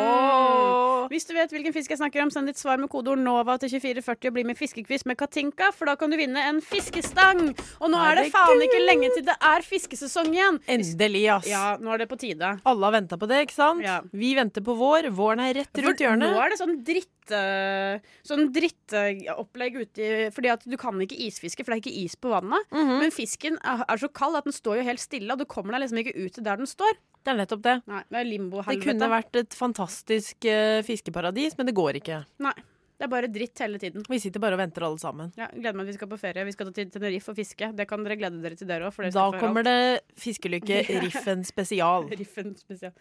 A: Hvis du vet hvilken fisk jeg snakker om, send ditt svar med kodeord NOVA til 2440 og bli med i fiskekviss med Katinka, for da kan du vinne en fiskestang! Og nå er det faen ikke lenge til det er fiskesesong igjen!
B: Endelig, ass.
A: Ja, nå er det på tide.
B: Alle har venta på det, ikke sant?
A: Ja.
B: Vi venter på vår. Våren er rett rundt
A: For
B: hjørnet.
A: Nå er det sånn dritt eh, Sånn drittopplegg ute i- Fordi at du kan ikke isfiske, for det er ikke is på vannet.
B: Mhm.
A: Men fisken er, er så kald at den står jo helt stille, og du kommer deg liksom ikke ut til der den står.
B: Det er nettopp det.
A: Nei, Det er
B: Det
A: limbohelvete.
B: kunne vært et fantastisk eh, fiskeparadis, men det går ikke.
A: Det er bare dritt hele tiden.
B: Vi sitter bare og venter alle sammen.
A: Ja, gleder meg til vi skal på ferie. Vi skal til Tenerife og fiske. Det kan dere glede dere til, dere òg.
B: Da kommer det Fiskelykke Riffen spesial.
A: Riffen spesial.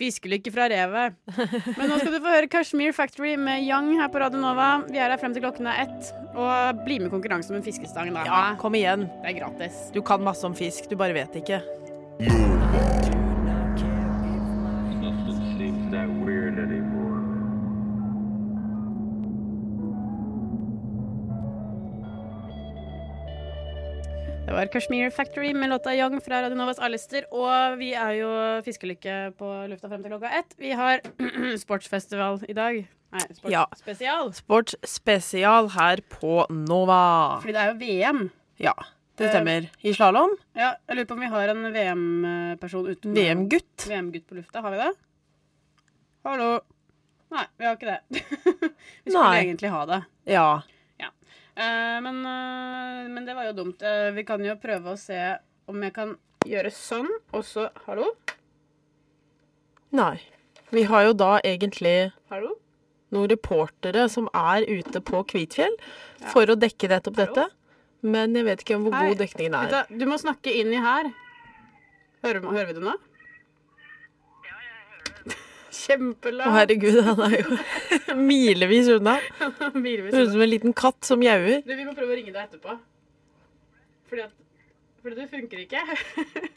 A: Fiskelykke fra revet. Men nå skal du få høre Kashmir Factory med Young her på Radio Nova. Vi er her frem til klokken er ett. Og bli med i konkurransen om en fiskestang, da.
B: Ja, kom igjen.
A: Det er gratis.
B: Du kan masse om fisk, du bare vet ikke.
A: Det var Kashmir Factory med låta Young fra Radio Novas A-lister. Og vi er jo fiskelykke på lufta frem til klokka ett. Vi har sportsfestival i dag. Nei,
B: Ja.
A: sportsspesial.
B: Sports spesial her på Nova.
A: Fordi det er jo VM.
B: Ja, det stemmer. I slalåm.
A: Ja, jeg lurer på om vi har en VM-person uten
B: VM-gutt.
A: VM-gutt på lufta. Har vi det? Hallo? Nei, vi har ikke det. vi skulle
B: Nei.
A: egentlig ha det.
B: Ja.
A: Eh, men, eh, men det var jo dumt. Eh, vi kan jo prøve å se om jeg kan gjøre sånn, og så Hallo?
B: Nei. Vi har jo da egentlig
A: Hallo?
B: noen reportere som er ute på Kvitfjell for å dekke nettopp dette. Men jeg vet ikke om hvor
A: Hei.
B: god dekningen
A: Vet
B: er.
A: du, hva, du må snakke inn i her. Hører, hører vi det nå?
B: Å
A: Kjempelang
B: herregud, han er jo milevis unna.
A: bilvis.
B: Høres ut som en liten katt som mjauer.
A: Du, vi må prøve å ringe deg etterpå. Fordi at Fordi det funker ikke.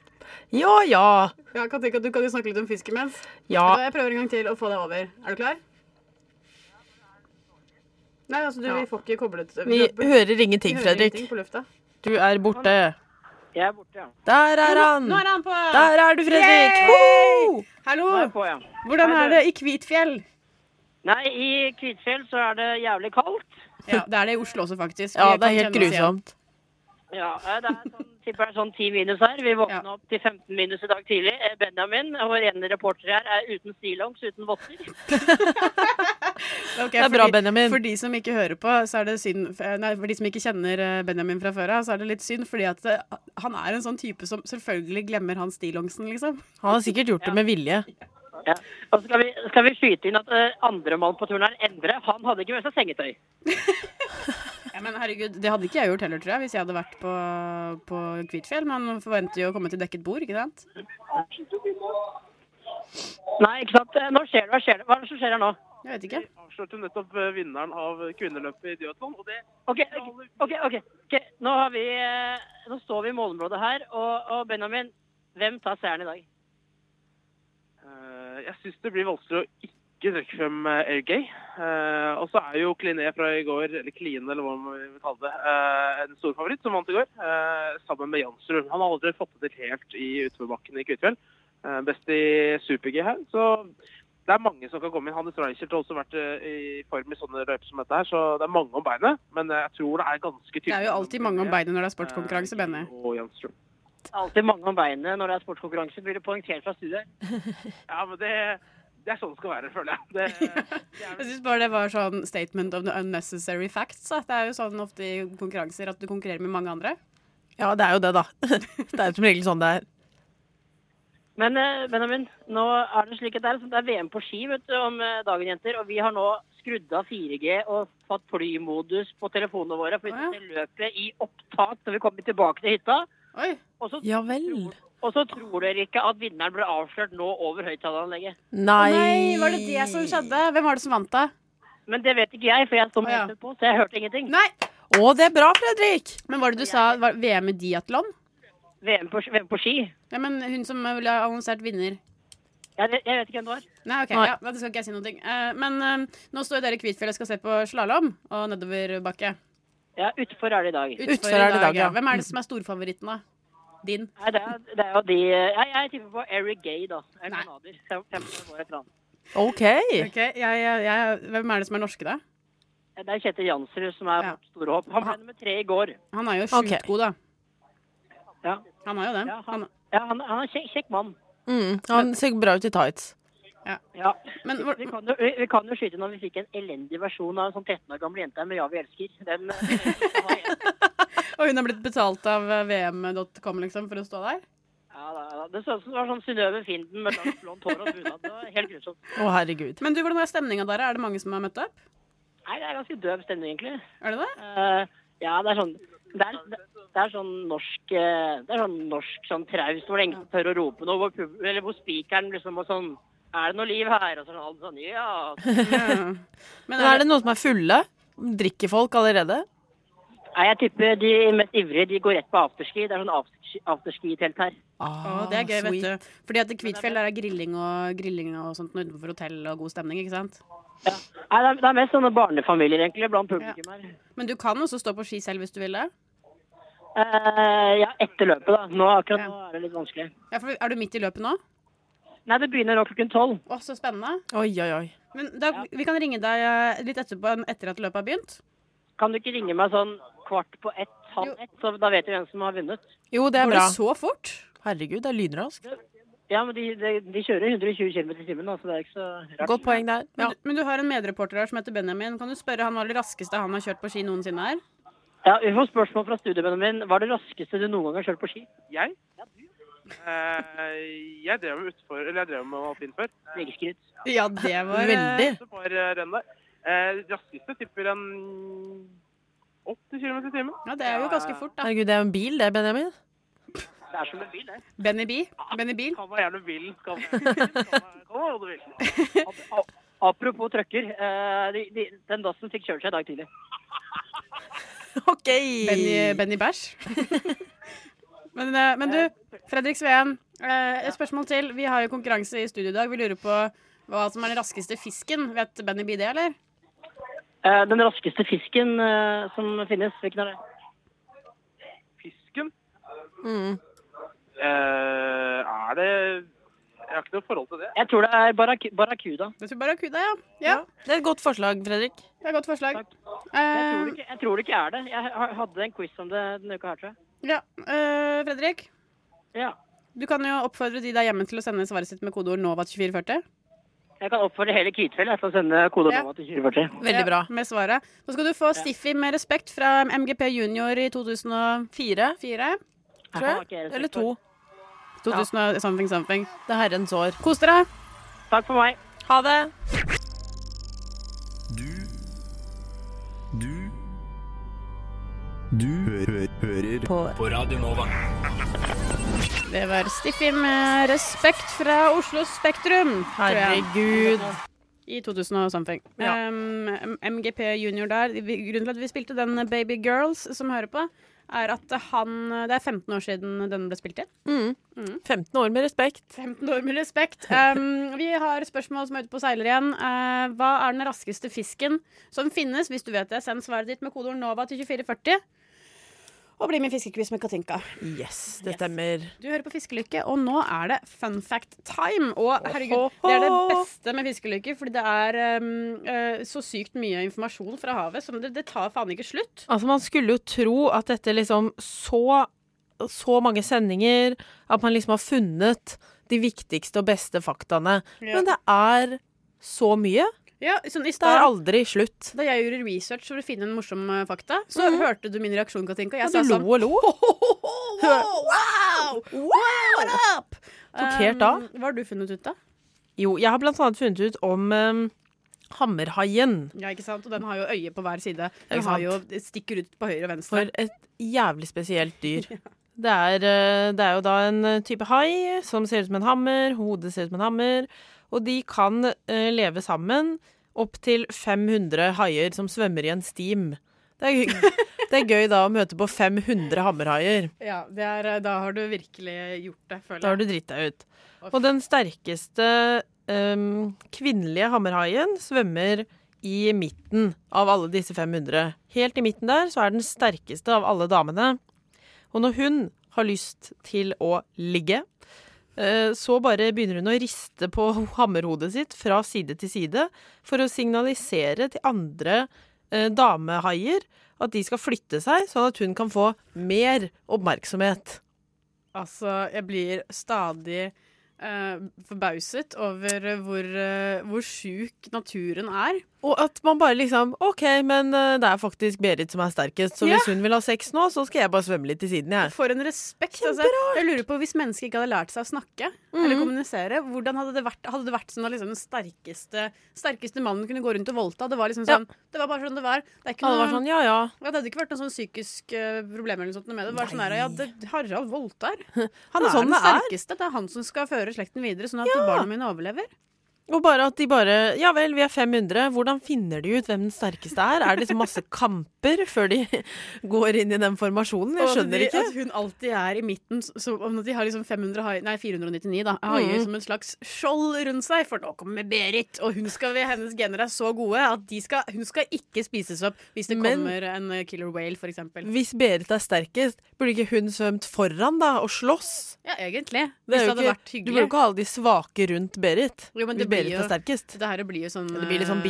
B: Ja ja.
A: Ja, kan tenke at Du kan jo snakke litt om fisk imens. Vet
B: Ja.
A: du hva, Jeg prøver en gang til å få deg over. Er du klar? Nei, altså, du, vi får ikke koblet
B: Vi hører ingenting, Fredrik.
A: ingenting på lufta.
B: Du er borte.
K: Jeg er borte, ja.
B: Der er han!
A: Nå er han på!
B: Der er du, Fredrik!
A: Yay!
B: Ho!
A: Hallo!
K: Nå er jeg på, ja.
A: Hvordan er det i Kvitfjell?
K: Nei, i Kvitfjell så er det jævlig kaldt.
A: Ja, Det er det i Oslo også, faktisk.
B: Ja,
A: Vi
B: det er
A: kan
B: helt
A: kjenne oss igjen.
B: grusomt.
K: Ja, eh, det er sånn, tipper det er sånn 10 minus her. Vi våkna
A: Ja.
K: opp til 15 minus i dag tidlig. Eh, Benjamin, vår ene reporter her, er uten stillongs, uten votter.
A: Ok,
B: Det er
A: for
B: bra,
A: de-
B: Benjamin.
A: For de som ikke hører på, så er det synd f- Nei, for de som ikke kjenner eh, Benjamin fra før av, så er det litt synd, fordi at eh, han er en sånn type som selvfølgelig glemmer han stillongsen, liksom.
B: Han har sikkert gjort det med vilje.
K: Ja. Og så skal vi, skal vi skyte inn at eh, andremann på turen her, Endre, han hadde ikke med seg sengetøy.
A: Ja, men herregud, det hadde ikke jeg gjort heller, tror jeg, hvis jeg hadde vært på, på Kvitfjell. Man forventer jo å komme til dekket bord, ikke sant?
K: Nei, ikke sant. Eh, Nå skjer det, hva skjer det? Hva er det som skjer her nå?
A: Jeg vet ikke.
L: Vi avslørte nettopp eh, vinneren av kvinneløpet i duatlon, og det
K: OK, ok, ok. ok. Nå, har vi, eh, nå står vi i målområdet her, og, og Benjamin, hvem tar seieren i dag?
L: eh, Jeg syns det blir vanskelig å ikke trekke frem eh, Air Gay. Eh, og så er jo Kline fra i går, eller Kline, eller hva man vil kalle det, eh, en storfavoritt som vant i går, eh, sammen med Jansrud. Han har aldri fått det til helt i utforbakken i Kvitfjell. Eh, best i super-G her. Så det er mange som kan komme inn. Hannes Reichert har også vært eh, i form i sånne løyper som dette her, så det er mange om beinet. Men jeg tror det er ganske tydelig.
A: Det er jo alltid mange om beinet når det er sportskonkurranse, Benny.
K: Eh,
L: Og Jansrud.
K: Alltid mange om beinet når det er sportskonkurranse, blir det poengtert fra studiet.
L: Ja, men det, det er sånn det skal være, føler jeg. Det,
A: Jeg syns bare det var sånn statement of the unnecessary facts. Da. Det er jo sånn ofte i konkurranser at du konkurrerer med mange andre.
B: Ja, det er jo det, da. Det er jo som regel sånn det er.
K: Men eh, Benjamin, nå er det slik at det er, det er VM på ski vet du, om eh, dagen, jenter. Og vi har nå skrudd av 4G og fått flymodus på telefonene våre. For vi skal se løpet i opptak når vi kommer tilbake til hytta. Og så,
B: Ja vel.
K: og så tror dere ikke at vinneren ble avslørt nå over høyttaleranlegget.
A: Å nei, var det det som skjedde? Hvem var det som vant, da?
K: Men det vet ikke jeg, for jeg sto med headset på, så jeg hørte ingenting.
A: Nei.
B: Å, det er bra, Fredrik.
A: Men var det du sa var VM i diatlon?
K: VM på, ski.
A: Ja, men hun som ville ha annonsert vinner.
K: Jeg, vet ikke hvem det var.
A: Nei, ok,
K: Nei.
A: Ja, men det skal ikke jeg si noe. Eh, men eh, nå står jo dere i Kvitfjell og skal se på slalåm og nedoverbakke.
K: Ja, utfor er det i dag.
A: Utfor i dag, ja. Hvem er det som er storfavoritten, da? Din?
K: Nei, det er, det er jo de Jeg, jeg tipper på Eric Gay, da. En kanader. Fem- 15 år etter han.
B: OK.
A: Ok, jeg, jeg, jeg, hvem er det som er norske, da?
K: Det er Kjetil Jansrud som er vårt store håp. Han ble nummer tre i går.
A: Han er jo sjukt
K: Ok.
A: god, da.
K: Ja.
A: Han er jo det.
K: Ja, han, ja, han, han er en kjekk, kjekk mann.
B: Mm, han ser bra ut i tights.
K: Ja.
A: Men,
K: vi, kan jo, vi, vi kan jo skyte når vi fikk en elendig versjon av en sånn 13 år gammel jente med 'Ja, vi elsker'. Den,
A: Og hun har blitt betalt av eh, vm.com, liksom, for å stå der?
K: ja, da, da. Det så ut som det var sånn Synnøve Finden med langt blondt hår og bunad. Det var Helt grusomt.
B: Å, herregud.
A: Men du, hvordan er stemninga der? Er det mange som har møtt opp?
K: Nei, det er ganske døv stemning, egentlig.
A: Er det det?
K: Eh, ja, det er sånn det er, det er sånn norsk eh, Det er sånn norsk sånn traust hvor det er ingen som tør å rope noe. Hvor, pub- eller hvor spikeren liksom og sånn Er det noe liv her? Og sånn, alle sånn Ja.
B: Men er, det noen som er fulle? Drikker folk allerede?
K: Nei, jeg tipper de mest ivrige de går rett på afterski. Det er sånn afterski- afterski-telt her.
A: Å, det er gøy, vet du. Fordi at i Kvitfjell der er grilling og, grilling og sånt noe utenfor hotell og god stemning, ikke sant?
K: Nei, det er, det er mest sånne barnefamilier egentlig blant publikum her.
A: Men du kan også stå på ski selv hvis du vil det?
K: Eh, ja, etter løpet, da. Nå akkurat nå er det litt vanskelig.
A: Ja, for er du midt i løpet nå?
K: Nei, det begynner nå klokken tolv.
A: Å, så spennende.
B: Oi, oi, oi.
A: Men da, vi kan ringe deg eh, litt etterpå, etter at løpet har begynt.
K: Kan du ikke ringe meg sånn kvart på ett, halv ett, så da vet vi hvem som har vunnet?
B: Jo, det er
A: Går
B: bra.
A: det så fort?
B: Herregud, det er lynraskt.
K: Ja, men de, de, de kjører 120 km i timen, da, så det er ikke så rart.
B: Godt poeng der.
A: Men, du, men du har en medreporter her som heter Benjamin. Kan du spørre han hva det raskeste han har kjørt på ski noensinne er?
K: Ja, Vi får spørsmål fra studievennen min. Hva er det raskeste du noen gang har kjørt på ski?
L: Jeg? Eh, jeg drev med utfor, eller jeg drev med alpin før.
K: Vegeskritt.
A: Ja, det
B: var, eh, Veldig.
L: Det var eh, renn der. Eh, raskeste tipper en 80 km i timen.
A: Ja, det er jo ganske fort, da.
B: Herregud, det er jo en bil, det, Benjamin.
L: Det er som en bil, det.
A: Benny B. Benny Bil.
L: Kan være gjerne bil. Kan være kan være hva du vil.
K: Apropos trøkker. eh, de, de, den dassen fikk kjørt seg i dag tidlig.
B: OK.
A: Benny, Benny Bæsj. men, eh, men du, Fredrik Sveen, eh, et spørsmål til. Vi har jo konkurranse i studio i dag. Vi lurer på hva som er den raskeste fisken. Vet Benny B det, eller?
K: Eh, den raskeste fisken eh, som finnes, hvilken er det?
L: Fisken? Eh, er det Jeg har ikke noe forhold til det.
K: Jeg tror det er barak barracuda.
A: Jeg tror barracuda, ja. ja.
B: Det er et godt forslag, Fredrik.
A: Det er et godt forslag.
K: Jeg
A: Eh,
K: tror, det ikke, jeg tror det ikke er det. Jeg ha- hadde en quiz om det denne uka her, tror jeg.
A: ja. eh, Fredrik,
K: Ja.
A: du kan jo oppfordre de der hjemme til å sende svaret sitt med kodeord NOVA2440.
K: Jeg kan oppfordre hele Kvitfjell jeg, til å sende kode
A: Ja.
K: NOVA til 2040.
B: Veldig bra.
A: Ja, med svaret. Nå skal du få Stiffi med respekt fra MGP Junior i 2004.
B: Fire, tror
K: Aha, ok,
B: jeg.
K: respekt
B: Eller to.
A: 2000 og something, something.
B: Det er herrens år.
A: Kos dere!
K: Takk for meg.
B: Ha det.
H: Du Du Du hø hø hører
F: på
G: På Radio Nova.
A: Det var Stiffi med respekt fra Oslo Spektrum. tror jeg.
B: Herregud.
A: I 2000 og something.
B: Ja.
A: Um, MGP Junior der. vi- Grunnen til at vi spilte den Baby Girls som hører på, er at han Det er 15 år siden den ble spilt inn.
B: Mm. 15 år med respekt.
A: 15 år med respekt. Um, vi har spørsmål som er ute på seiler igjen. Eh, hva er den raskeste fisken som finnes? Hvis du vet det, send svaret ditt med kodeord NOVA til 2440. Og bli med i Fiskequiz med Katinka.
B: Yes, det stemmer.
A: Du hører på Fiskelykke, og nå er det fun fact time. Og herregud, det er det beste med Fiskelykke, fordi det er um, eh, så sykt mye informasjon fra havet. Som det, det tar faen ikke slutt.
B: Altså, man skulle jo tro at dette liksom så Så mange sendinger At man liksom har funnet de viktigste og beste faktaene.
A: Ja.
B: Men det er så mye.
A: Ja, sånn i
B: Det er
A: stad,
B: aldri slutt.
A: da jeg gjorde research for å finne en morsom eh, fakta, så hørte du min reaksjon, Katinka. Jeg
B: Ja, du
A: sa sånn
B: lo og lo.
A: Wow! Wow! What up?
B: Tok helt av.
A: Um, hva har du funnet ut, da?
B: Jo, jeg har blant annet funnet ut om um, hammerhaien.
A: Ja, ikke sant? Og den har jo øye på hver side.
B: Ja,
A: Den
B: ikke
A: har
B: sant.
A: jo, det stikker ut på høyre og venstre.
B: For et jævlig spesielt dyr. Det er, eh, det er jo da en eh, type hai som ser ut som en hammer, hodet ser ut som en hammer, og de kan eh, leve sammen opptil 500 haier som svømmer i en stim. Det er, gøy- det er gøy da å møte på 500 hammerhaier.
A: Ja, det er, eh, da har du virkelig gjort det, føler jeg.
B: Da har du dritt deg ut. Og den sterkeste em, kvinnelige hammerhaien svømmer i midten av alle disse 500. Helt i midten der så er den sterkeste av alle damene. Og når hun har lyst til å ligge, eh, så bare begynner hun å riste på hammerhodet sitt fra side til side for å signalisere til andre eh, damehaier at de skal flytte seg, sånn at hun kan få mer oppmerksomhet.
A: Altså, jeg blir stadig eh, forbauset over eh, hvor, uh, hvor sjuk naturen er.
B: Og at man bare liksom OK, men eh, det er faktisk Berit som er sterkest, så
A: Ja.
B: hvis hun vil ha sex nå, så skal jeg bare svømme litt til siden, jeg.
A: For en respekt. Altså, jeg lurer på Hvis mennesker ikke hadde lært seg å snakke eller
B: Mhm.
A: kommunisere, hvordan hadde det vært, hadde det vært sånn at liksom, den sterkeste, sterkeste mannen kunne gå rundt og voldta? Det var liksom sånn, det var bare sånn det var. Det, er ikke
B: Alle
A: noe,
B: var sånn ja ja.
A: ja, det hadde ikke vært noe sånn psykisk eh, problem eller noe sånt med det. Det var sånn her, ja, det, Harald voldtar. Han
B: er
A: er,
B: sånn
A: den
B: det er.
A: sterkeste. Det er han som skal føre slekten videre, sånn at barna mine overlever.
B: Og bare at de bare Ja vel, vi er 500. Hvordan finner de ut hvem den sterkeste er? Er det liksom masse kamper før de går inn i den formasjonen? Jeg
A: Og at
B: skjønner
A: de,
B: ikke.
A: At hun alltid er i midten, så- så om at de har liksom 500 hai, nei, 499 da, haier
B: Mm.
A: som en slags skjold rundt seg. For nå kommer Berit, og hun skal, hennes gener er så gode at de skal, hun skal ikke spises opp hvis det
B: Men-
A: kommer en eh, killer whale, for eksempel.
B: Hvis Berit er sterkest, burde ikke hun svømt foran, da, og slåss?
A: Ja, egentlig.
B: Det
A: Hvis det
B: er jo
A: hadde vært
B: ikke, du burde jo
A: hyggelig.
B: ikke ha alle de svake rundt Berit.
A: Jo, men
B: hvis
A: det blir
B: Berit
A: jo-
B: er sterkest.
A: Det her blir jo sånn
B: Det blir litt sånn
A: eh,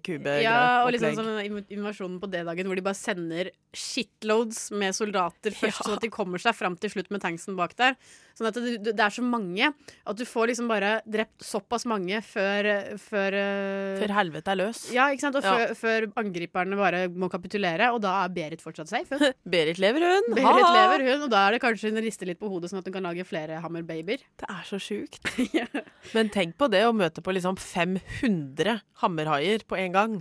B: bikube
A: Ja, og liksom sånn inv- invasjonen på D-dagen hvor de bare sender shitloads med soldater først, sånn at de kommer seg fram til slutt med tanksen bak der. Sånn at det, det er så mange at du får liksom bare drept såpass mange før, før eh,
B: Før helvete er løs.
A: Ja, ikke sant? Og
B: Ja.
A: før, før angriperne bare må kapitulere, og da er Berit fortsatt safe. hun.
B: Berit lever, hun.
A: Berit lever, hun, og da er det kanskje hun rister litt på hodet, sånn at hun kan lage flere hammerbabyer.
B: Det er så sjukt. Men tenk på det å møte på liksom 500 hammerhaier på en gang.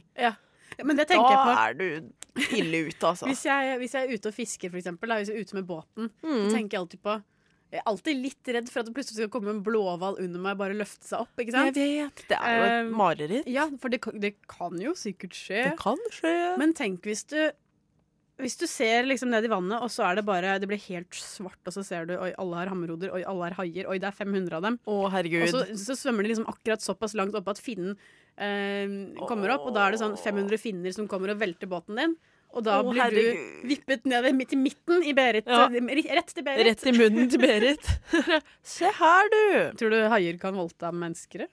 A: Men det
B: Da
A: tenker jeg på.
B: er du ille ute, altså.
A: Hvis jeg, hvis jeg er ute og fisker, for eksempel, da, hvis jeg er ute med båten,
B: Mm.
A: så tenker jeg alltid på Jeg er alltid litt redd for at det plutselig skal komme en blåhval under meg og bare løfte seg opp. ikke
B: Jeg
A: sant?
B: vet. Det er jo
A: Eh,
B: et mareritt.
A: Ja, for det, kan- det kan jo sikkert skje.
B: Det kan skje.
A: Men tenk hvis du hvis du ser liksom ned i vannet, og så er det bare Det blir helt svart, og så ser du Oi, alle har hammerhoder. Oi, alle har haier. Oi, det er 500 av dem.
B: Å, herregud.
A: Og så, så svømmer de liksom akkurat såpass langt oppe at finnen eh, kommer opp, og da er det sånn 500 finner som kommer og velter båten din. Og da
B: Å,
A: blir
B: herregud.
A: du vippet ned i- til midten i Berit. eh,
B: Ja.
A: Rett til Berit.
B: Rett i munnen til Berit. Se her, du.
A: Tror du haier kan voldta mennesker?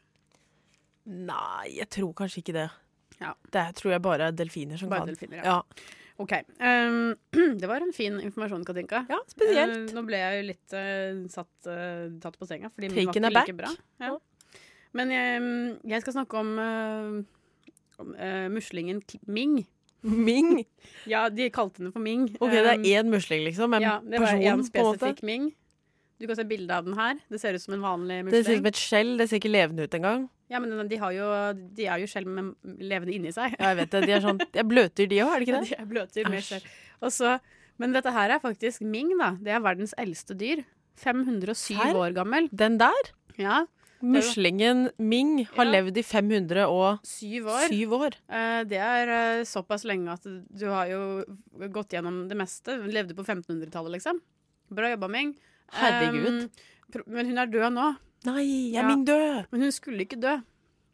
B: Nei, jeg tror kanskje ikke det.
A: Ja.
B: Det tror jeg bare er delfiner som
A: Bare
B: kan.
A: delfiner, ja. OK. Um, det var en fin informasjon, Katinka.
B: Ja, spesielt.
A: Eh, nå ble jeg jo litt eh, satt, eh, tatt på senga, fordi min var
B: Taken
A: ikke
B: aback.
A: like bra. Ja. Men jeg, jeg skal snakke om, eh, om eh, muslingen K- Ming.
B: Ming.
A: Ja, de kalte henne for Ming.
B: OK, det er
A: Um,
B: én musling, liksom. En
A: ja, det var
B: person,
A: en
B: på en måte.
A: spesifikk Ming. Du kan se bilde av den her. Det ser ut som en vanlig
B: Det ser ut
A: musling.
B: som et skjell. Det ser ikke levende ut engang.
A: Ja, men den- de, har jo, de er jo skjell med levende inni seg.
B: Ja, jeg vet det. De er sånn De er bløtdyr, de òg, er det ikke det?
A: De er bløtdyr med
B: Æsj.
A: skjell. Og så- Men dette her er faktisk Ming, da. Det er verdens eldste dyr. 507
B: Serr?
A: år gammel.
B: Den der?
A: Ja.
B: Muslingen Ming har levd i 500 og
A: Syv år.
B: Syv år.
A: Eh, det er eh, såpass lenge at du har jo gått gjennom det meste. Hun levde på 1500-tallet, liksom. Bra jobba, Ming.
B: Herregud.
A: Eh, pro- men hun er død nå.
B: Nei,
A: er
B: Ming død?
A: Men hun skulle ikke dø.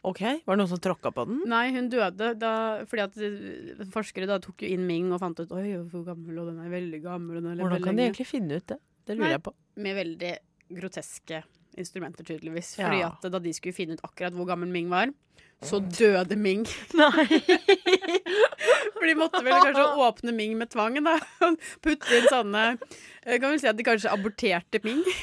B: OK, var det noen som tråkka på den?
A: Nei, hun døde da, fordi at eh, forskere da tok jo inn Ming og fant ut Oi, hvor gammel, og den er veldig gammel og den har levd
B: Hvordan kan
A: lenge."
B: de egentlig finne ut det? Det lurer
A: Nei,
B: jeg på.
A: Med veldig groteske instrumenter, tydeligvis.
B: Ja.
A: Fordi at da de skulle finne ut akkurat hvor gammel Ming var, så døde Ming. For de måtte vel kanskje åpne Ming med tvang, da. Putte inn sånne Jeg kan vel si at de kanskje aborterte Ming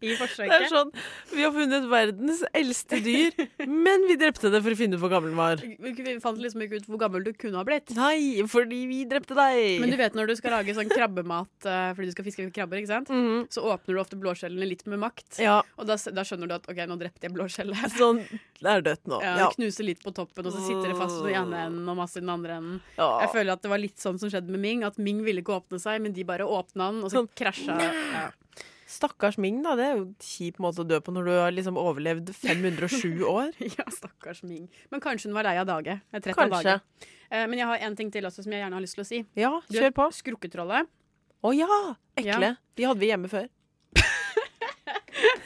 A: i forsøket.
B: Det er sånn, Vi har funnet verdens eldste dyr, men vi drepte det for å finne ut hvor gammel den var.
A: Vi vi fant liksom ikke ut hvor gammel du kunne ha blitt.
B: Nei, fordi vi drepte deg!
A: Men du vet når du skal lage sånn krabbemat eh, fordi du skal fiske krabber, ikke sant? så åpner du ofte blåskjellene litt med makt.
B: Mhm. Ja.
A: Og da, s- da skjønner du at OK, nå drepte jeg blåskjellet.
B: Sånn, det er dødt nå.
A: Ja,
B: Ja.
A: Det knuser litt på toppen, og så sitter det fast i den ene enden og masse i den andre enden.
B: Ja.
A: Jeg føler at det var litt sånn som skjedde med Ming, at Ming ville ikke åpne seg, men de bare åpna den, og
B: Sånn,
A: så krasja ja.
B: Stakkars Ming, da. Det er jo en kjip måte å dø på når du har liksom overlevd 507 år.
A: ja, stakkars Ming. Men kanskje hun var lei av dage. Jeg er trett av
B: Kanskje.
A: dage. Eh, Men jeg har en ting til også som jeg gjerne har lyst til å si.
B: Ja,
A: Du
B: kjør
A: vet,
B: på.
A: Skrukketrollet.
B: Å ja! Ekle.
A: Ja.
B: De hadde vi hjemme før.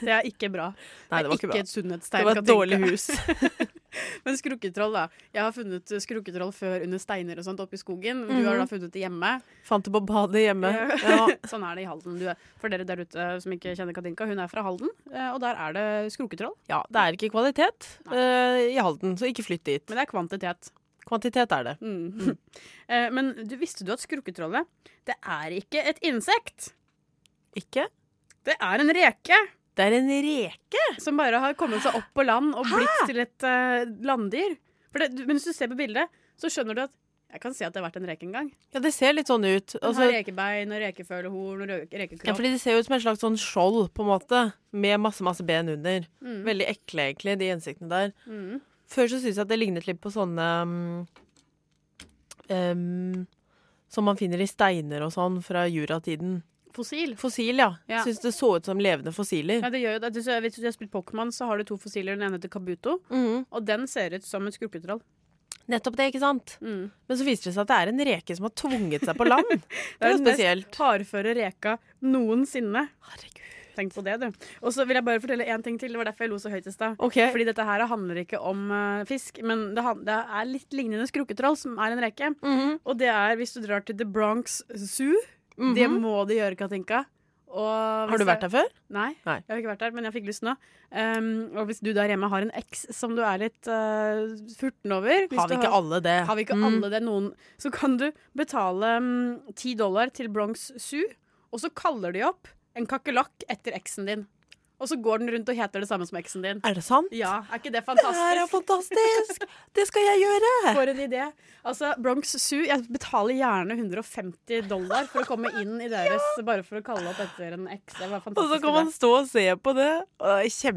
A: Det er ikke bra.
B: Nei, det var ikke bra.
A: et sunnhetstegn.
B: Det var
A: kan
B: et
A: jeg
B: dårlig
A: tenke.
B: hus.
A: Men skrukketroll, da. Jeg har funnet eh, skrukketroll før under steiner og sånt oppe i skogen. Du
B: Mhm.
A: har da funnet det hjemme.
B: Fant det på badet hjemme. Ja.
A: sånn er det i Halden. Du, er- for dere der ute som ikke kjenner Katinka, hun er fra Halden, eh, og der er det skrukketroll.
B: ja, det er ikke kvalitet eh, i Halden, så ikke flytt dit.
A: Men det er kvantitet.
B: Kvantitet er det.
A: Mm. Eh, Men du visste du at skrukketrollet, det er ikke et insekt.
B: Ikke?
A: Det er en reke.
B: Det er en reke!
A: Som bare har kommet seg opp på land og blitt til et eh, landdyr. For det, du- men hvis du ser på bildet, så skjønner du at jeg kan se at det har vært en reke en gang.
B: Ja, det ser litt sånn ut.
A: Den
B: Altså,
A: har rekebein og rekefølehorn og rø- rekekropp.
B: ja, fordi det ser jo ut som et slags sånn skjold, på en måte, med masse, masse ben under.
A: Mm.
B: Veldig ekle, egentlig, de insektene der.
A: Mm.
B: Før så syntes jeg at det lignet litt på sånne um, um, Som man finner i steiner og sånn fra juratiden.
A: Fossil.
B: Fossil, ja.
A: Ja.
B: Syns det så ut som levende fossiler.
A: Ja, det gjør jo det. Du ser- Hvis du har spilt Pokémon, så har du to fossiler. Den ene heter Kabuto,
B: Mhm.
A: og den ser ut som et skrukketroll.
B: Nettopp det, ikke sant?
A: Mm.
B: Men så viser det seg at det er en reke som har tvunget seg på land. Det er jo
A: den mest
B: spesielt.
A: hardføre reka noensinne. Tenk på det, du. Og så vil jeg bare fortelle én ting til. Det var derfor jeg lo så høyt i stad.
B: Ok.
A: Fordi dette her handler ikke om eh, fisk, men det, han- det er litt lignende skrukketroll, som er en reke.
B: Mm-hmm.
A: Og det er hvis du drar til The Bronx Zoo. Det må de gjøre, Katinka. Og
B: Mm-hmm. Har
A: hvis
B: du vært
A: det-
B: der før?
A: Nei,
B: Nei.
A: jeg har ikke vært der, men jeg fikk lyst nå. Um, og hvis du der hjemme har en eks som du er litt uh, furten over hvis
B: Har vi
A: du
B: ikke alle det?
A: Har vi ikke
B: Mm.
A: alle det noen Så kan du betale um, 10 dollar til Bronx Zoo, og så kaller de opp en kakerlakk etter eksen din. Og så går den rundt og heter det samme som eksen din.
B: Er det sant?
A: Ja, er ikke det
B: Det her er
A: fantastisk?
B: fantastisk! Det skal jeg gjøre!
A: For en idé. Altså, Bronx Zoo Jeg betaler gjerne 150 dollar for å komme inn i deres bare for å kalle opp etter en eks. Det var en
B: Og så
A: fantastisk.
B: kan
A: idé.
B: man stå og se på det. Og det er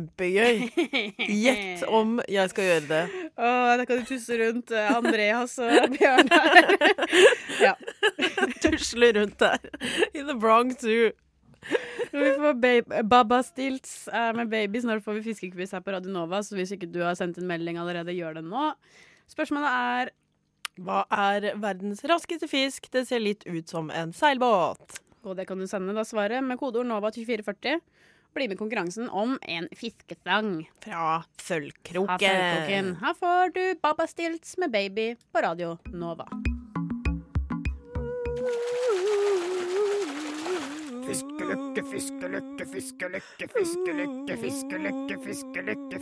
B: kjempegøy. Gjett om jeg skal gjøre det.
A: Åh, da kan du tusse rundt eh, Andreas og Bjørn her. ja.
B: Tusle rundt der. In the Bronx Zoo.
A: Men Vi får ba- Baba Stilts eh, med baby. Snart får vi fiskequiz her på Radio Nova, så hvis ikke du har sendt inn melding allerede, gjør det nå. Spørsmålet er
B: Hva er verdens raskeste fisk? Det ser litt ut som en seilbåt.
A: Og det kan du sende da svaret med kodeord NOVA til 2440. Bli med i konkurransen om en fiskesang.
B: Fra
A: Her får du kokken.
B: Sølvkroken.
A: Her får du Baba Stilts med baby på Radio Nova.
E: Fiskelykke, fiskelykke, fiskelykke, fiskelykke, fiskelykke, fiskelykke,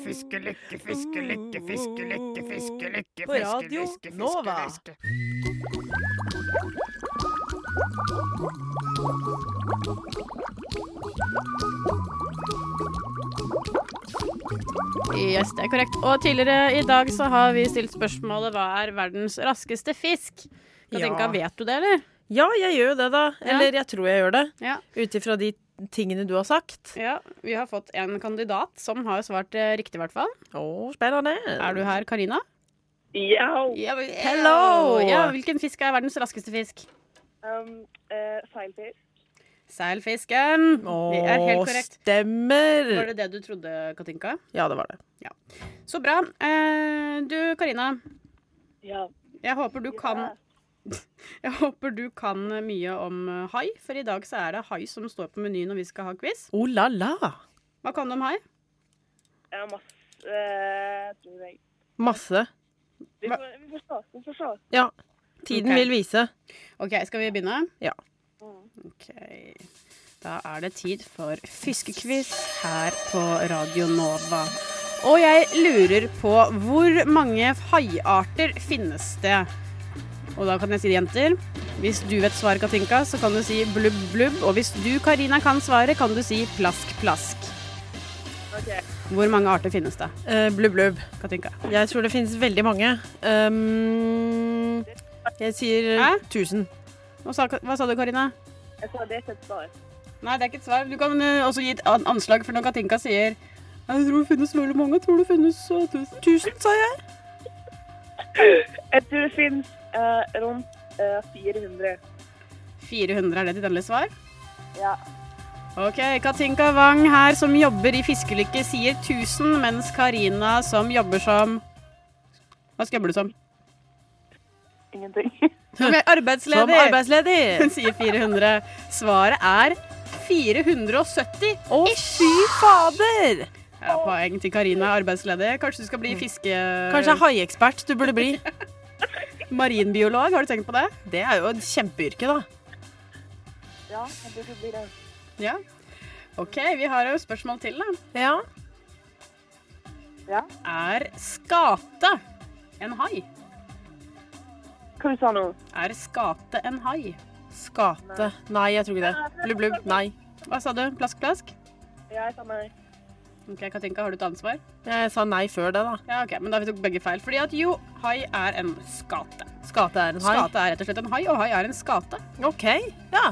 E: fiskelykke, fiskelykke, fiskelykke, fiskelykke,
B: På Radio
E: fiskelykke,
B: Nova.
E: fiskelykke.
A: Yes, det er korrekt. Og tidligere i dag så har vi stilt spørsmålet hva er verdens raskeste fisk? Katinka,
B: Ja.
A: vet du det, eller?
B: Ja, jeg gjør jo det, da. Eller jeg tror jeg gjør det.
A: Ja.
B: Ut ifra de tingene du har sagt.
A: Ja, vi har fått en kandidat som har svart eh, riktig, i hvert fall.
B: Å, spennende.
A: Er du her, Karina?
M: Yo!
A: Hello! Ja, hvilken fisk er verdens raskeste fisk?
M: Um, eh, seilfisk.
A: Seilfisken. Det er helt
B: Å,
A: korrekt.
B: Stemmer.
A: Var det det du trodde, Katinka?
B: Ja, det var det.
A: Så bra. Eh, du, Karina.
K: Ja.
A: Jeg håper du kan Jeg håper du kan mye om eh, hai, for i dag så er det hai som står på menyen når vi skal ha quiz.
B: Oh la la.
A: Hva kan du om hai?
M: Ja, masse eh, tror jeg.
B: Masse.
M: Vi får, vi får se. Vi får se.
B: Ja. Tiden
A: Ok.
B: vil vise.
A: OK, skal vi begynne?
B: Ja.
A: OK. Da er det tid for fiskequiz her på Radio Nova. Og jeg lurer på hvor mange haiarter finnes det? Og da kan jeg si det, jenter. Hvis du vet svaret, Katinka, så kan du si blubb, blubb. Og hvis du, Karina, kan svaret, kan du si plask, plask. Hvor mange arter finnes det?
B: Eh, blubb, blubb.
A: Katinka.
B: Jeg tror det finnes veldig mange. Um, jeg sier 1000.
A: Hva sa, hva sa du, Karina?
M: Jeg sa det er ikke et svar.
A: Nei, det er ikke et svar. Du kan eh, også gi et an- anslag for når Katinka sier Jeg tror det finnes veldig mange. Jeg tror det finnes eh, tusen. Tusen, sa jeg.
M: Jeg tror det finnes eh, rundt eh, 400.
A: 400 er det ditt endelige svar?
M: Ja.
A: OK. Katinka Wang her, som jobber i Fiskelykke, sier 1000, mens Karina, som jobber som Hva skal jeg jobbe som?
M: Ingenting.
A: Som er arbeidsledig.
B: Som arbeidsledig.
A: Hun sier 400. Svaret er 470. Å, fy fader! Ja, poeng til Karina, arbeidsledig. Kanskje du skal bli fiske...
B: Mm.
A: Eh.
B: Kanskje haiekspert du burde bli.
A: Marinbiolog, har du tenkt på det?
B: Det er jo et kjempeyrke, da.
M: Ja, jeg tror det blir det.
A: Ja. OK, vi har jo spørsmål til, da.
B: Ja.
M: Ja.
A: Er skate en hai?
M: Hva du sa nå?
A: Er skate en hai?
B: Skate. Nei, jeg tror ikke det. Blubb, blubb. Nei.
A: Hva sa du? Plask, plask?
M: Ja, jeg sa nei.
A: OK, Katinka, har du et ansvar?
B: Jeg sa nei før det, da.
A: Ja, ok, Men da vi tok begge feil. Fordi at jo, hai er en skate.
B: Skate er en hai.
A: Skate er rett og slett en hai, og hai er en skate.
B: OK. Ja.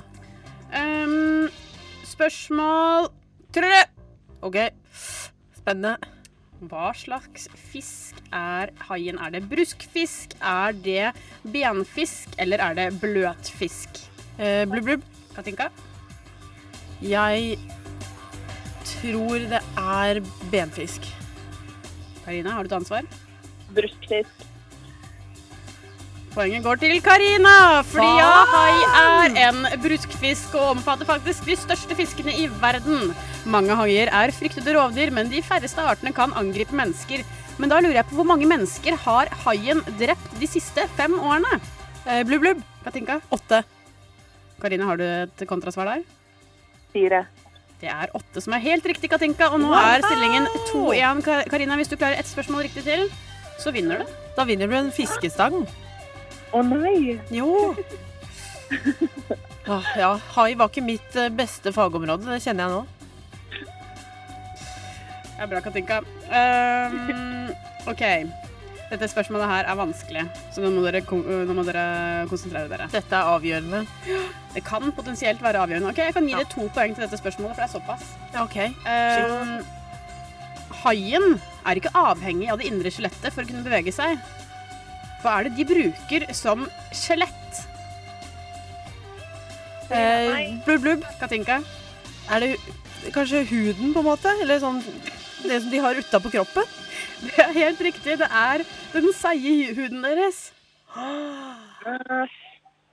A: Ehm, spørsmål tre.
B: OK. Spennende.
A: Hva slags fisk er haien? Er det bruskfisk? Er det benfisk? Eller er det bløtfisk?
B: Eh, blubb, blubb.
A: Katinka?
B: Jeg tror det er benfisk.
A: Karina, har du et ansvar?
M: Bruskfisk.
A: Poenget går til Karina, fordi ja,
B: Faen!
A: hai er en bruskfisk og omfatter faktisk de største fiskene i verden. Mange haier er fryktede rovdyr, men de færreste artene kan angripe mennesker. Men da lurer jeg på hvor mange mennesker har haien drept de siste fem årene?
B: Eh, blubb, blubb.
A: Katinka?
B: Åtte.
A: Karina, har du et kontrasvar der?
M: Fire.
A: Det er åtte som er helt riktig, Katinka. Og nå
B: Wow!
A: er stillingen 2-1. Ka- Karina, hvis du klarer ett spørsmål riktig til, så vinner du.
B: Da vinner du en fiskestang.
M: Å nei!
B: Jo. Åh, ja, hai var ikke mitt eh, beste fagområde, det kjenner jeg nå.
A: Det er bra, Katinka. Ehm, OK. Dette spørsmålet her er vanskelig, så nå må dere, kon- nå må dere konsentrere dere.
B: Dette er avgjørende.
A: Det kan potensielt være avgjørende. OK, jeg kan gi dere to poeng til dette spørsmålet, for det er såpass.
B: OK.
A: Ehm, haien er ikke avhengig av det indre skjelettet for å kunne bevege seg. Hva er det de bruker som skjelett?
B: Eh, blubb, blubb.
A: Katinka?
B: Er det hu- kanskje huden, på en måte? Eller sånn det som de har utapå kroppen?
A: Det er helt riktig. Det er den seige huden deres.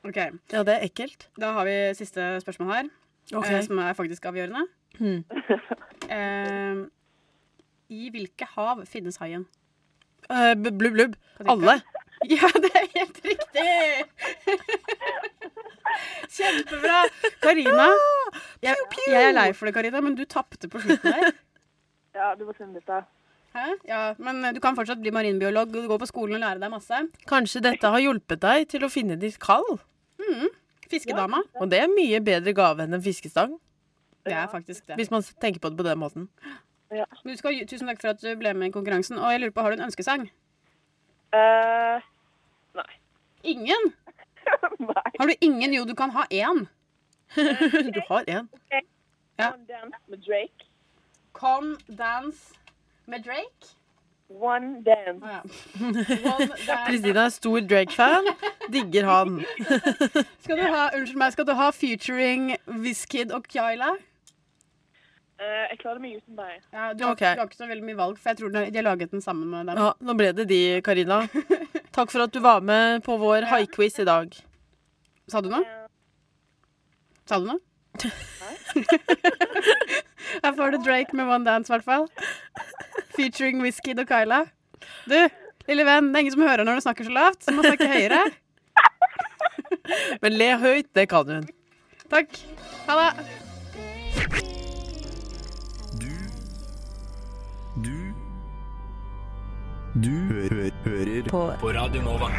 A: OK.
B: Ja, det er ekkelt.
A: Da har vi siste spørsmål her,
B: Ok.
A: eh, som er faktisk avgjørende.
B: Hmm.
A: Eh, I hvilke hav finnes haien?
B: Eh, b- blubb, blubb. Alle.
A: Ja, det er helt riktig! Kjempebra. Karina,
B: Ah,
A: jeg, jeg er lei for det, Karina, men du tapte på slutten der.
M: Ja, du var kundete.
A: Hæ? Ja, men du kan fortsatt bli marinbiolog. Du går på skolen og lærer deg masse.
B: Kanskje dette har hjulpet deg til å finne ditt kall?
A: Fiskedama.
B: Og det er mye bedre gave enn en fiskestang,
A: Det er faktisk det.
B: hvis man s- tenker på det på den måten.
A: Men du skal, ha- tusen takk for at du ble med i konkurransen. Og jeg lurer på, har du en ønskesang?
M: Eh,
A: Ingen?
M: nei.
A: Har du ingen? Jo, du kan ha én.
B: Du har én.
A: Ja.
M: One dance med Drake.
A: Come dance med Drake.
M: One Dance.
B: Kristina er stor Drake-fan. Digger han.
A: Skal du ha, unnskyld meg, skal du ha featuring Wizkid og Kyla?
M: Eh, jeg klarer meg uten deg.
A: Ja, du, har,
B: Ok.
A: du har ikke så veldig mye valg, for jeg tror de de har laget den sammen med dem.
B: Ja, nå ble det de, Karina. Takk for at du var med på vår haiquiz i dag.
A: Sa du noe? Sa du noe? Her får du Drake med One Dance, i hvert fall. Featuring Whisky og Kyla. Du, lille venn, det er ingen som hører når du snakker så lavt, så du må snakke høyere.
B: Men le høyt, det kan hun.
A: Takk. Ha det.
H: Du Du hø hø hører
F: på.
H: Radio Nova.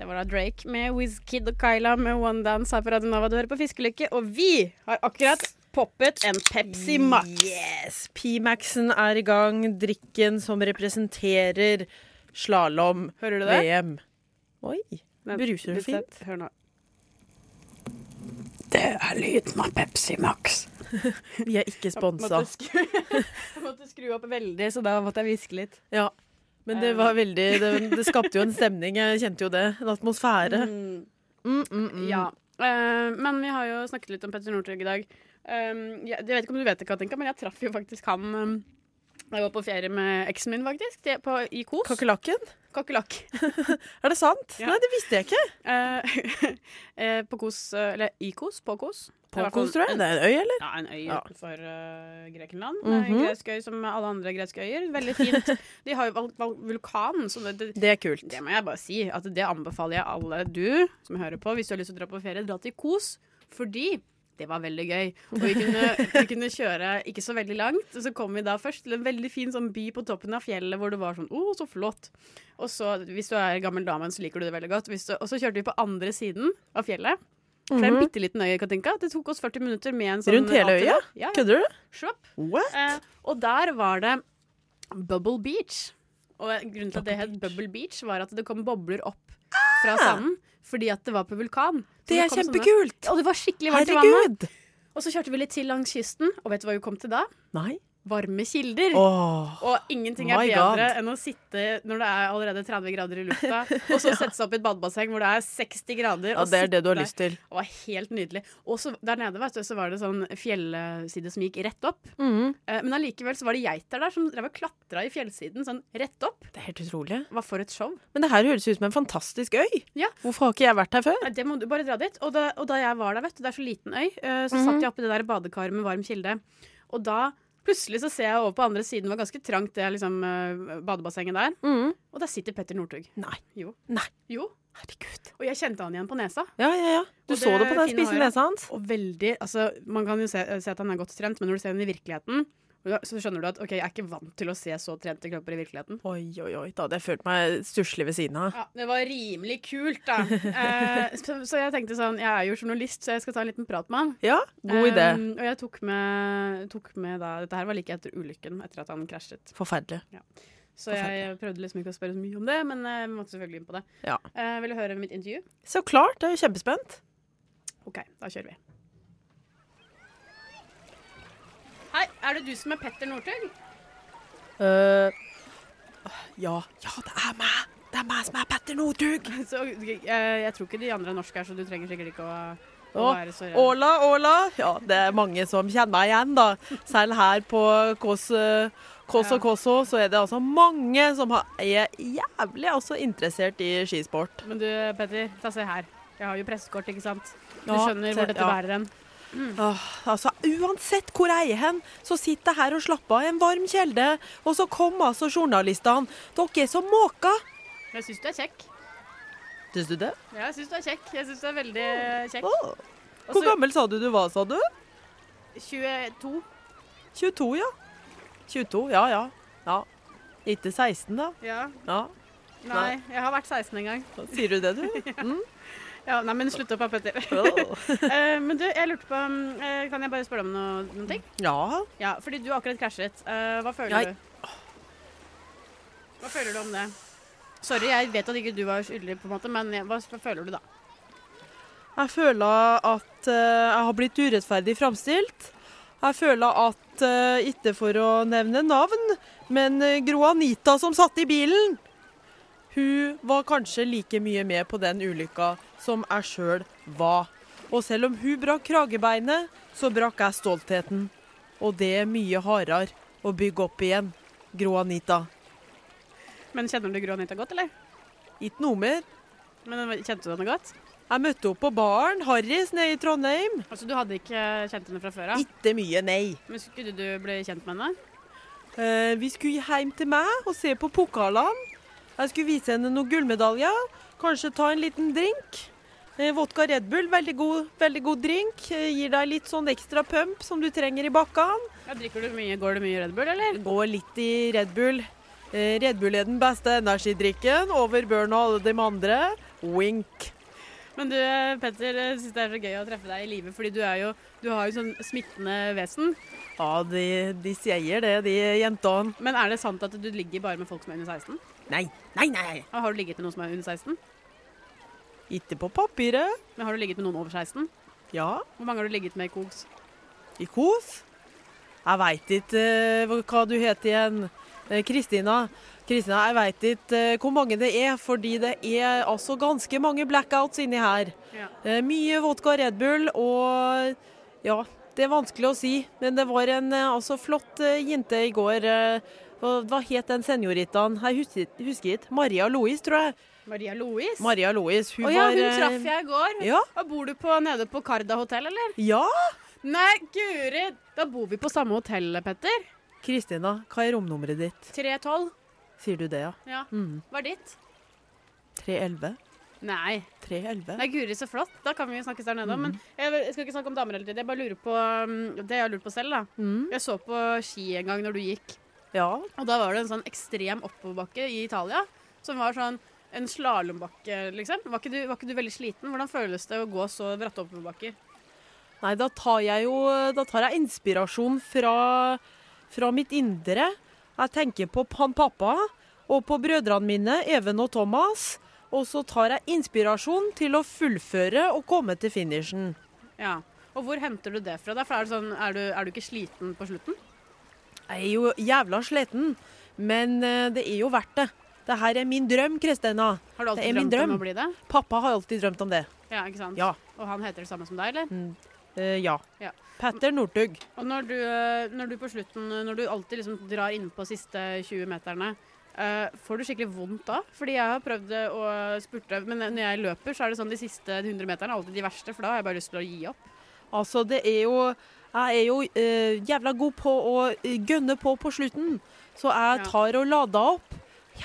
A: Det var da Drake med Wizkid og Kyla med One Dance her på Radio Nova. Du hører på Fiskelykke, og vi har akkurat poppet en Pepsi Max.
B: Yes, P-Maxen er i gang. Drikken som representerer slalåm.
A: Hører du det?
B: VM. Oi. Bruser du fint?
A: Hør nå.
B: Det er lyden av Pepsi Max. Vi er ikke sponsa.
A: Jeg måtte, skru, jeg måtte skru opp veldig, så da måtte jeg hviske litt.
B: Ja. Men det var veldig Det, det skapte jo en stemning. Jeg kjente jo det. En atmosfære. Mm, mm, mm.
A: Ja. Eh, men vi har jo snakket litt om Petter Northug i dag. Um, jeg, jeg vet ikke om du vet det, Katinka, men jeg traff jo faktisk han um, da jeg var på ferie med eksen min, faktisk. til- På, I Kos.
B: Kakerlakken?
A: Kakerlakk.
B: Er det sant? Nei, det visste jeg ikke.
A: Eh, på Kos, eh, eller i Kos, på Kos.
B: På
A: Det er i hvert
B: Kos,
A: fall
B: tror jeg. Det sånn- er en øy, eller?
A: Ja, en øy
B: Ja.
A: utenfor eh, Grekenland.
B: Mhm.
A: En Gresk øy som alle andre greske øyer. Veldig fint. De har jo valgt, valgt vulkan, så det, det,
B: Det er kult.
A: det må jeg bare si. At det anbefaler jeg alle du som hører på, hvis du har lyst til å dra på ferie, dra til Kos. Fordi det var veldig gøy. Og vi kunne, vi kunne kjøre ikke så veldig langt. Og så kom vi da først til en veldig fin sånn by på toppen av fjellet hvor det var sånn Å, så flott. Og så, hvis du er gammel dame, så liker du det veldig godt. Hvis du, og så kjørte vi på andre siden av fjellet. Fra en
B: Mhm.
A: bitte liten øy, Katinka. Det tok oss 40 minutter med en sånn
B: Rundt hele
A: ATV.
B: øya?
A: Ja, ja.
B: Kødder du?
A: Sjopp.
B: What?
A: Eh, og der var det Bubble Beach. Og grunnen til at det het Bubble Beach, var at det kom bobler opp fra sanden. Fordi at det var på vulkan. Så
B: Ah! Det er
A: kom sånne-
B: kjempekult!
A: Og det var skikkelig varmt i vannet.
B: Herregud!
A: Og så kjørte vi litt til langs kysten, og vet du hva vi kom til da?
B: Nei.
A: Varme
B: Mm.
A: kilder.
B: Åh.
A: Og ingenting er
B: My
A: bedre
B: God.
A: enn å sitte når det er allerede 30 grader i lufta, og så sette seg opp i et badebasseng hvor det er 60 grader.
B: Ja,
A: og
B: det er det du
A: sitte
B: har
A: der.
B: lyst til.
A: Det var helt nydelig. Og så der nede vet du, så var det sånn fjellside som gikk rett opp.
B: Mm.
A: Eh, Men allikevel så var det geiter der som drev og klatra i fjellsiden sånn rett opp.
B: Det er helt utrolig.
A: Hva for et show.
B: Men det her høres ut som en fantastisk øy.
A: Ja.
B: Hvorfor har ikke jeg vært her før?
A: Nei, Det må du bare dra dit. Og da, og da jeg var der, vet du, det er så liten øy, eh, så satt jeg oppi det der badekaret med varm kilde. Og da plutselig så ser jeg over på andre siden, det var ganske trangt det liksom eh, badebassenget der.
B: Mhm.
A: Og der sitter Petter Northug.
B: Nei.
A: Jo.
B: Nei.
A: Jo.
B: Herregud.
A: Og jeg kjente han igjen på nesa.
B: Ja, ja, ja. Du
A: Og
B: så det
A: det
B: på den
A: fine
B: spisse
A: håret.
B: nesa hans.
A: Og veldig, altså Man kan jo se, se at han er godt trent, men når du ser ham i virkeligheten, så skjønner du at OK, jeg er ikke vant til å se så trente kropper i virkeligheten.
B: Oi, oi, oi. Da hadde jeg følt meg stusslig ved siden av.
A: Ja, det var rimelig kult, da. Eh, så, så jeg tenkte sånn Jeg er jo journalist, så jeg skal ta en liten prat med han.
B: Ja, god idé.
A: Um, og jeg tok med, tok med da Dette her var like etter ulykken, etter at han krasjet.
B: Forferdelig.
A: Så jeg prøvde liksom ikke å spørre så mye om det, men eh, vi måtte selvfølgelig inn på det.
B: Ja.
A: Eh, vil du høre mitt intervju?
B: Så klart, jeg er jo kjempespent.
A: OK, da kjører vi. Hei, er det du som er Petter Northug?
B: Eh, ja. ja, det er meg! Det er meg som er Petter Northug!
A: Så, eh, jeg tror ikke de andre er norske her, så du trenger sikkert ikke å, å
B: Å,
A: være så
B: Åla, åla! Ja, det er mange som kjenner meg igjen, da. Selv her på Kåss eh, Kåss og Kåsså, så er det altså mange som har- er jævlig altså interessert i skisport.
A: Men du, Petter, ta se her. Jeg har jo pressekort, ikke sant? Du
B: Ja,
A: skjønner
B: se-
A: hvor dette
B: ja.
A: bærer hen.
B: Åh, altså, Uansett hvor jeg er hen, så sitter jeg her og slapper av i en varm kjelde, og så kom altså journalistene. Dere er så måka!
A: Jeg syns du er kjekk.
B: Syns du det?
A: Ja, jeg syns du er kjekk. Jeg syns du er veldig kjekk.
B: Åh. altså-
A: Og
B: Hvor
A: så-
B: gammel sa du du var, sa du?
A: 22.
B: 22, ja. 22, ja, ja. ja. Ikke 16, da.
A: Ja.
B: Ja.
A: Nei, jeg har vært 16 en gang.
B: Sier du det, du? Mm.
A: Ja, nei, men slutt opp, da, Petter.
B: Åh.
A: Eh, men du, jeg lurte på mm, eh, Kan jeg bare spørre om noe, noen ting?
B: Ja.
A: Ja, fordi du har akkurat krasjet. Eh, hva føler
B: Nei.
A: du? Hva føler du om det? Sorry, jeg vet at ikke du var skyldig, på en måte, men jeg- hva, hva føler du da?
B: Jeg føler at eh, jeg har blitt urettferdig framstilt. Jeg føler at eh, ikke for å nevne navn, men eh, Gro Anita som satt i bilen, hun var kanskje like mye med på den ulykka som jeg sjøl var. Og selv om hun brakk kragebeinet, så brakk jeg stoltheten. Og det er mye hardere å bygge opp igjen, Gro Anita.
A: Men kjenner du Gro Anita godt, eller?
B: Ikke noe mer.
A: Men kjente du henne godt?
B: Jeg møtte henne på baren, Harris, nede i Trondheim.
A: Altså, Du hadde ikke kjent henne fra før av?
B: Ikke mye, nei.
A: Men skulle du bli kjent med henne?
B: Eh, vi skulle hjem til meg og se på pokalene. Jeg skulle vise henne noen gullmedaljer. Kanskje ta en liten drink. Eh, vodka Red Bull, veldig god, veldig god drink. Eh, gir deg litt sånn ekstra pump som du trenger i bakkene.
A: Ja, drikker du mye, Går det mye Red Bull, eller?
B: Går litt i Red Bull. Eh, Red Bull er den beste energidrikken over Burn og alle de andre. Wink.
A: Men du, Petter, jeg synes det er så gøy å treffe deg i live, fordi du, er jo, du har jo sånn smittende vesen.
B: Ja, de, de sier det, de jentene.
A: Men er det sant at du ligger bare med folk som er under 16?
B: Nei, nei, nei.
A: Og har du ligget med noen som er under 16?
B: Ikke på papiret.
A: Men har du ligget med noen over 16?
B: Ja.
A: Hvor mange har du ligget med i kos?
B: I kos? Jeg veit ikke eh, hva- hva du heter igjen. Eh, Kristina. Kristina, jeg veit ikke eh, hvor mange det er, fordi det er altså ganske mange blackouts inni her.
A: Ja.
B: Eh, mye vodka Red Bull og ja, det er vanskelig å si. Men det var en eh, altså flott eh, jente i går. eh, Hva hva het den senioritaen? Jeg husker ikke- husker ikke. Maria Louise, tror jeg.
A: Maria Louise?
B: Maria Louise. Hun
A: Å ja,
B: var
A: hun
B: eh,
A: traff jeg i går.
B: Ja.
A: Og bor du på, nede på Karda hotell, eller?
B: Ja!
A: Nei, guri! Da bor vi på samme hotell, Petter.
B: Kristina, hva er romnummeret ditt?
A: 312.
B: Sier du det, ja?
A: Ja.
B: Mm.
A: Hva er ditt?
B: 311?
A: Nei.
B: 311?
A: Nei, guri, så flott. Da kan vi jo snakkes der nede.
B: Mm.
A: Men jeg, vil- jeg skal ikke snakke om damer hele tiden. Jeg bare lurer på um, det jeg har lurt på selv, da.
B: Mm.
A: Jeg så på ski en gang når du gikk.
B: Ja.
A: Og da var det en sånn ekstrem oppoverbakke i Italia, som var sånn en slalåmbakke, liksom. Var ikke, du, var ikke du veldig sliten? Hvordan føles det å gå så bratte oppoverbakker?
B: Nei, da tar jeg jo da tar jeg inspirasjon fra, fra mitt indre. Jeg tenker på han pappa og på brødrene mine, Even og Thomas. Og så tar jeg inspirasjon til å fullføre og komme til finishen.
A: Ja. Og hvor henter du det fra? Da? For er, det sånn, er, du, er du ikke sliten på slutten?
B: Jeg er jo jævla sliten, men eh, det er jo verdt det. Det her er min drøm, Kristina.
A: Har du alltid
B: Det er min
A: drømt om
B: drøm.
A: å bli det?
B: Pappa har alltid drømt om det.
A: Ja, ikke sant?
B: Ja.
A: Og han heter det samme som deg, eller?
B: Mm. Eh, ja.
A: Ja.
B: Petter Northug.
A: Og når du, eh, når du på slutten, eh, når du alltid liksom drar innpå siste 20 meterne, eh, får du skikkelig vondt da? Fordi jeg har prøvd eh, å spurte, men når jeg løper, så er det sånn de siste 100 meterne er alltid de verste, for da har jeg bare lyst til å gi opp.
B: Altså, det er jo Jeg er jo eh, jævla god på å eh, gønne på på slutten. Så jeg tar og lader opp.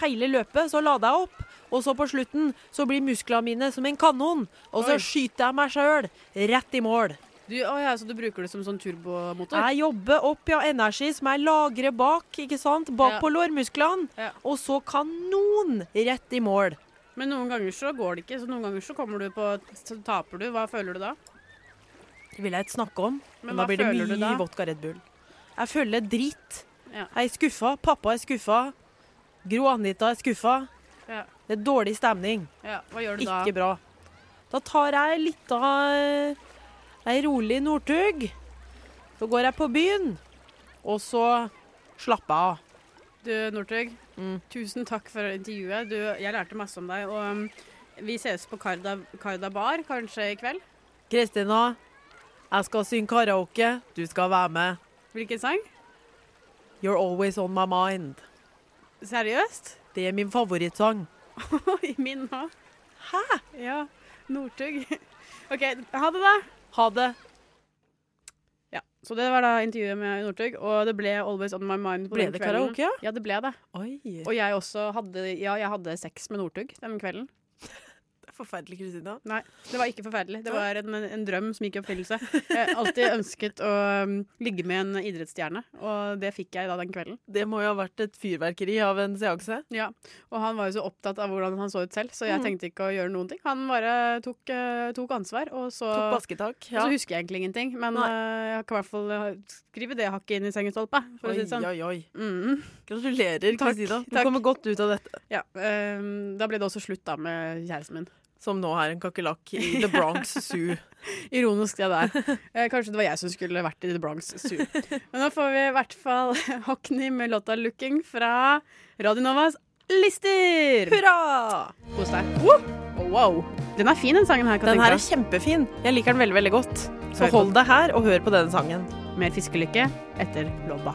B: Hele løpet så lader jeg opp. Og så på slutten så blir musklene mine som en kanon. Og så
A: Oi.
B: skyter jeg meg sjøl rett i mål.
A: Du, å ja, så du bruker det som sånn turbomotor?
B: Jeg jobber opp ja, energi som jeg lagrer bak, ikke sant? Bak
A: Ja.
B: på lårmusklene.
A: Ja.
B: Og så kanon rett i mål.
A: Men noen ganger så går det ikke, så noen ganger så kommer du på, så taper du. Hva føler du da?
B: Det vil jeg ikke snakke om.
A: Men
B: Men,
A: hva
B: da blir det
A: føler du
B: mye
A: da?
B: vodka Red Bull. Jeg føler drit.
A: Ja.
B: Jeg er skuffa. Pappa er skuffa. Gro Anita er skuffa.
A: Ja.
B: Det er dårlig stemning.
A: ja. Hva gjør du da?
B: Ikke bra. Da tar jeg litt av eh, ei rolig Northug. Så går jeg på byen, og så slapper jeg av.
A: Du, Northug, tusen takk for intervjuet. Du, jeg lærte masse om deg. Og um, vi ses på Karda, Karda Bar kanskje i kveld.
B: Kristina, jeg skal synge karaoke. Du skal være med.
A: Hvilken sang?
B: You're always on my mind.
A: Seriøst?
B: Det er min favorittsang.
A: Oi, min nå. Hæ? Ja. Northug. OK, ha det, da.
B: Ha det.
A: Ja, Så det var da intervjuet med Northug, og det ble 'Always On My Mind'. På
B: Ble
A: den
B: det
A: kvelden.
B: karaoke, ja?
A: Ja, det ble det.
B: Oi.
A: Og jeg også hadde, ja, jeg hadde sex med Northug den kvelden.
B: Forferdelig, Kristina.
A: Nei, det var ikke forferdelig. Det var en, en drøm som gikk i oppfyllelse. Jeg har alltid ønsket å um, ligge med en idrettsstjerne, og det fikk jeg da den kvelden.
B: Det må jo ha vært et fyrverkeri av en seanse.
A: Ja, Og han var jo så opptatt av hvordan han så ut selv, så jeg
B: Mm.
A: tenkte ikke å gjøre noen ting. Han bare tok, eh, tok ansvar, og så
B: Tok basketak.
A: Og så husker jeg egentlig ingenting, men eh, jeg kan i hvert fall eh, skrive det hakket inn i sengestolpa. For å si det sånn.
B: Oi, oi, oi.
A: Mm.
B: Gratulerer,
A: Takk,
B: Kristina. Du
A: takk.
B: kommer godt ut av dette.
A: Ja, ehm, eh, da ble det også slutt da med kjæresten min.
B: Som nå er en kakerlakk i The Bronx Zoo.
A: Ironisk, det der. Eh, Kanskje det var jeg som skulle vært i The Bronx Zoo. Men nå får vi i hvert fall Hockney med låta 'Looking' fra Radionovas lister.
B: Hurra!
A: Kos deg. Woo! Oh, wow. Den er fin, den sangen her. kan
B: Den
A: jeg
B: her
A: tenke
B: er kjempefin. Jeg liker den veldig, veldig godt. Så
A: Hør på
B: hold deg her og hør på denne sangen.
A: deg. Mer fiskelykke etter låta.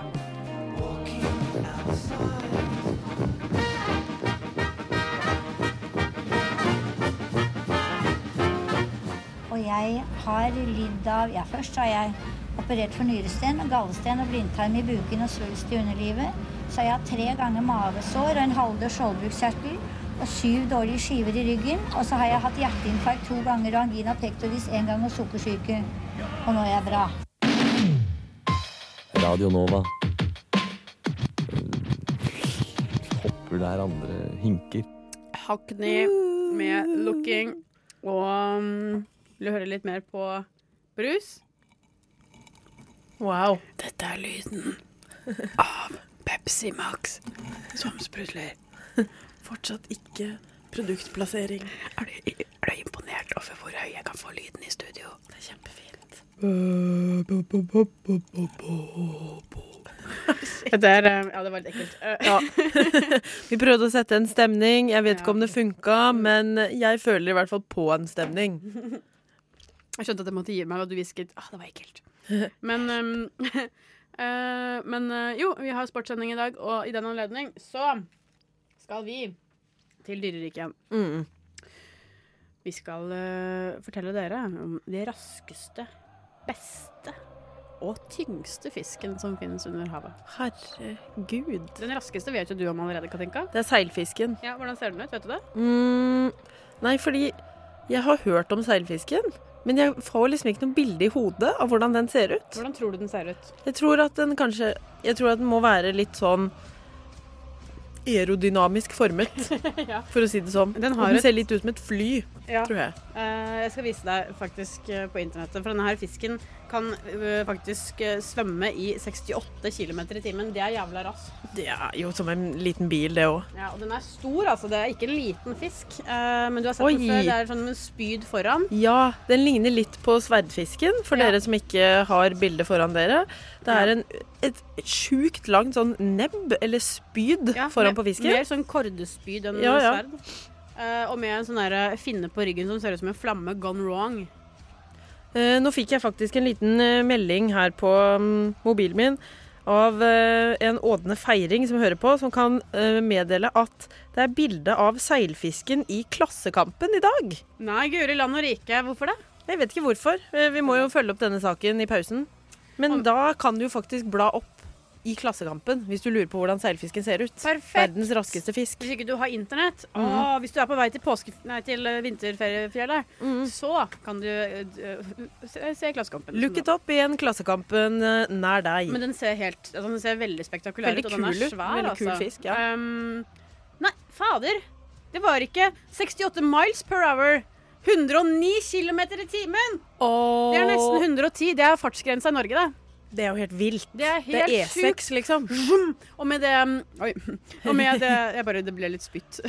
N: Og jeg har lidd av Ja, først har jeg operert for nyresten, gallesten og blindtarm i buken og svulst i underlivet. Så har jeg hatt tre ganger mavesår og en halvdød skjoldbruskkjertel og syv dårlige skiver i ryggen. Og så har jeg hatt hjerteinfarkt to ganger og angina pectoris én gang og sukkersyke. Og nå er jeg bra.
O: Radio Nova. Eh, Hopper der andre hinker.
A: Hackney med 'Looking'. Og um, vil du høre litt mer på brus?
B: Wow.
A: Dette er lyden av Pepsi Max som sprudler.
B: Fortsatt ikke produktplassering.
A: Er du, er du imponert over hvor høy jeg kan få lyden i studio? Eh, Det er kjempefint. Det er, eh, ja, det var litt ekkelt. Eh,
B: Vi prøvde å sette en stemning. Jeg vet ikke om det funka, men jeg føler i hvert fall på en stemning.
A: Jeg skjønte at jeg måtte gi meg da du hvisket ah, 'det var ekkelt'. Men, ehm, eh, men eh, jo, vi har sportssending i dag, og i den anledning så skal vi til dyreriket igjen.
B: Mm.
A: Vi skal eh, fortelle dere om de raskeste, beste og tyngste fisken som finnes under havet.
B: Herregud.
A: Den raskeste vet jo du om allerede, Katinka.
B: Det er seilfisken.
A: Ja, Hvordan ser den ut? Vet du det?
B: Mm, nei, fordi jeg har hørt om seilfisken, men jeg får liksom ikke noe bilde i hodet av hvordan den ser ut.
A: Hvordan tror du den ser ut?
B: Jeg tror at den kanskje Jeg tror at den må være litt sånn aerodynamisk formet, for å si det sånn. Den,
A: har
B: den
A: et-
B: ser litt ut som et fly,
A: Ja.
B: tror jeg.
A: Eh, jeg skal vise deg faktisk eh, på internettet, for denne her fisken kan eh, faktisk eh, svømme i 68 km i timen. Det er jævla raskt.
B: Det er jo som en liten bil, det òg.
A: Ja, og den er stor, altså. Det er ikke en liten fisk. Eh, men du har sett
B: Oi.
A: den før. Det er sånn med spyd foran.
B: Ja, den ligner litt på sverdfisken, for dere som ikke har bildet foran dere. Det er en, et sjukt langt sånn nebb, eller spyd, foran på fisken.
A: Mer sånn kordespyd enn
B: Ja, ja.
A: sverd. Eh, og med en sånn der finne på ryggen som ser ut som en flamme gone wrong.
B: Eh, nå fikk jeg faktisk en liten eh, melding her på mm, mobilen min av eh, en ådende feiring som hører på, som kan eh, meddele at det er bilde av seilfisken i Klassekampen i dag.
A: Nei, guri land og rike. Hvorfor det?
B: Jeg vet ikke hvorfor. Eh, vi må jo følge opp denne saken i pausen. Men da kan du jo faktisk bla opp i Klassekampen hvis du lurer på hvordan seilfisken ser ut. Verdens raskeste fisk.
A: Hvis ikke du har internett,
B: Mhm.
A: og hvis du er på vei til, påske, nei, til eh, vinterferiefjellet,
B: Mhm.
A: så kan du eh, eh, se, se Klassekampen.
B: Look it up i en Klassekampen eh, nær deg.
A: Men den ser, helt, altså, den ser veldig spektakulær
B: Veldig
A: ut, og den
B: kul
A: er
B: ut.
A: svær.
B: Veldig kul
A: altså.
B: fisk, ja.
A: Ehm, nei, fader! Det var ikke 68 miles per hour. 109 km i timen!
B: Åh.
A: Det er nesten 110. Det er fartsgrensa i Norge, det.
B: Det er jo helt vilt.
A: Det er
B: Det er E liksom.
A: helt sjukt.
B: E6,
A: Vroom! Og med det um, Oi. Og med det Jeg bare Det ble litt spytt.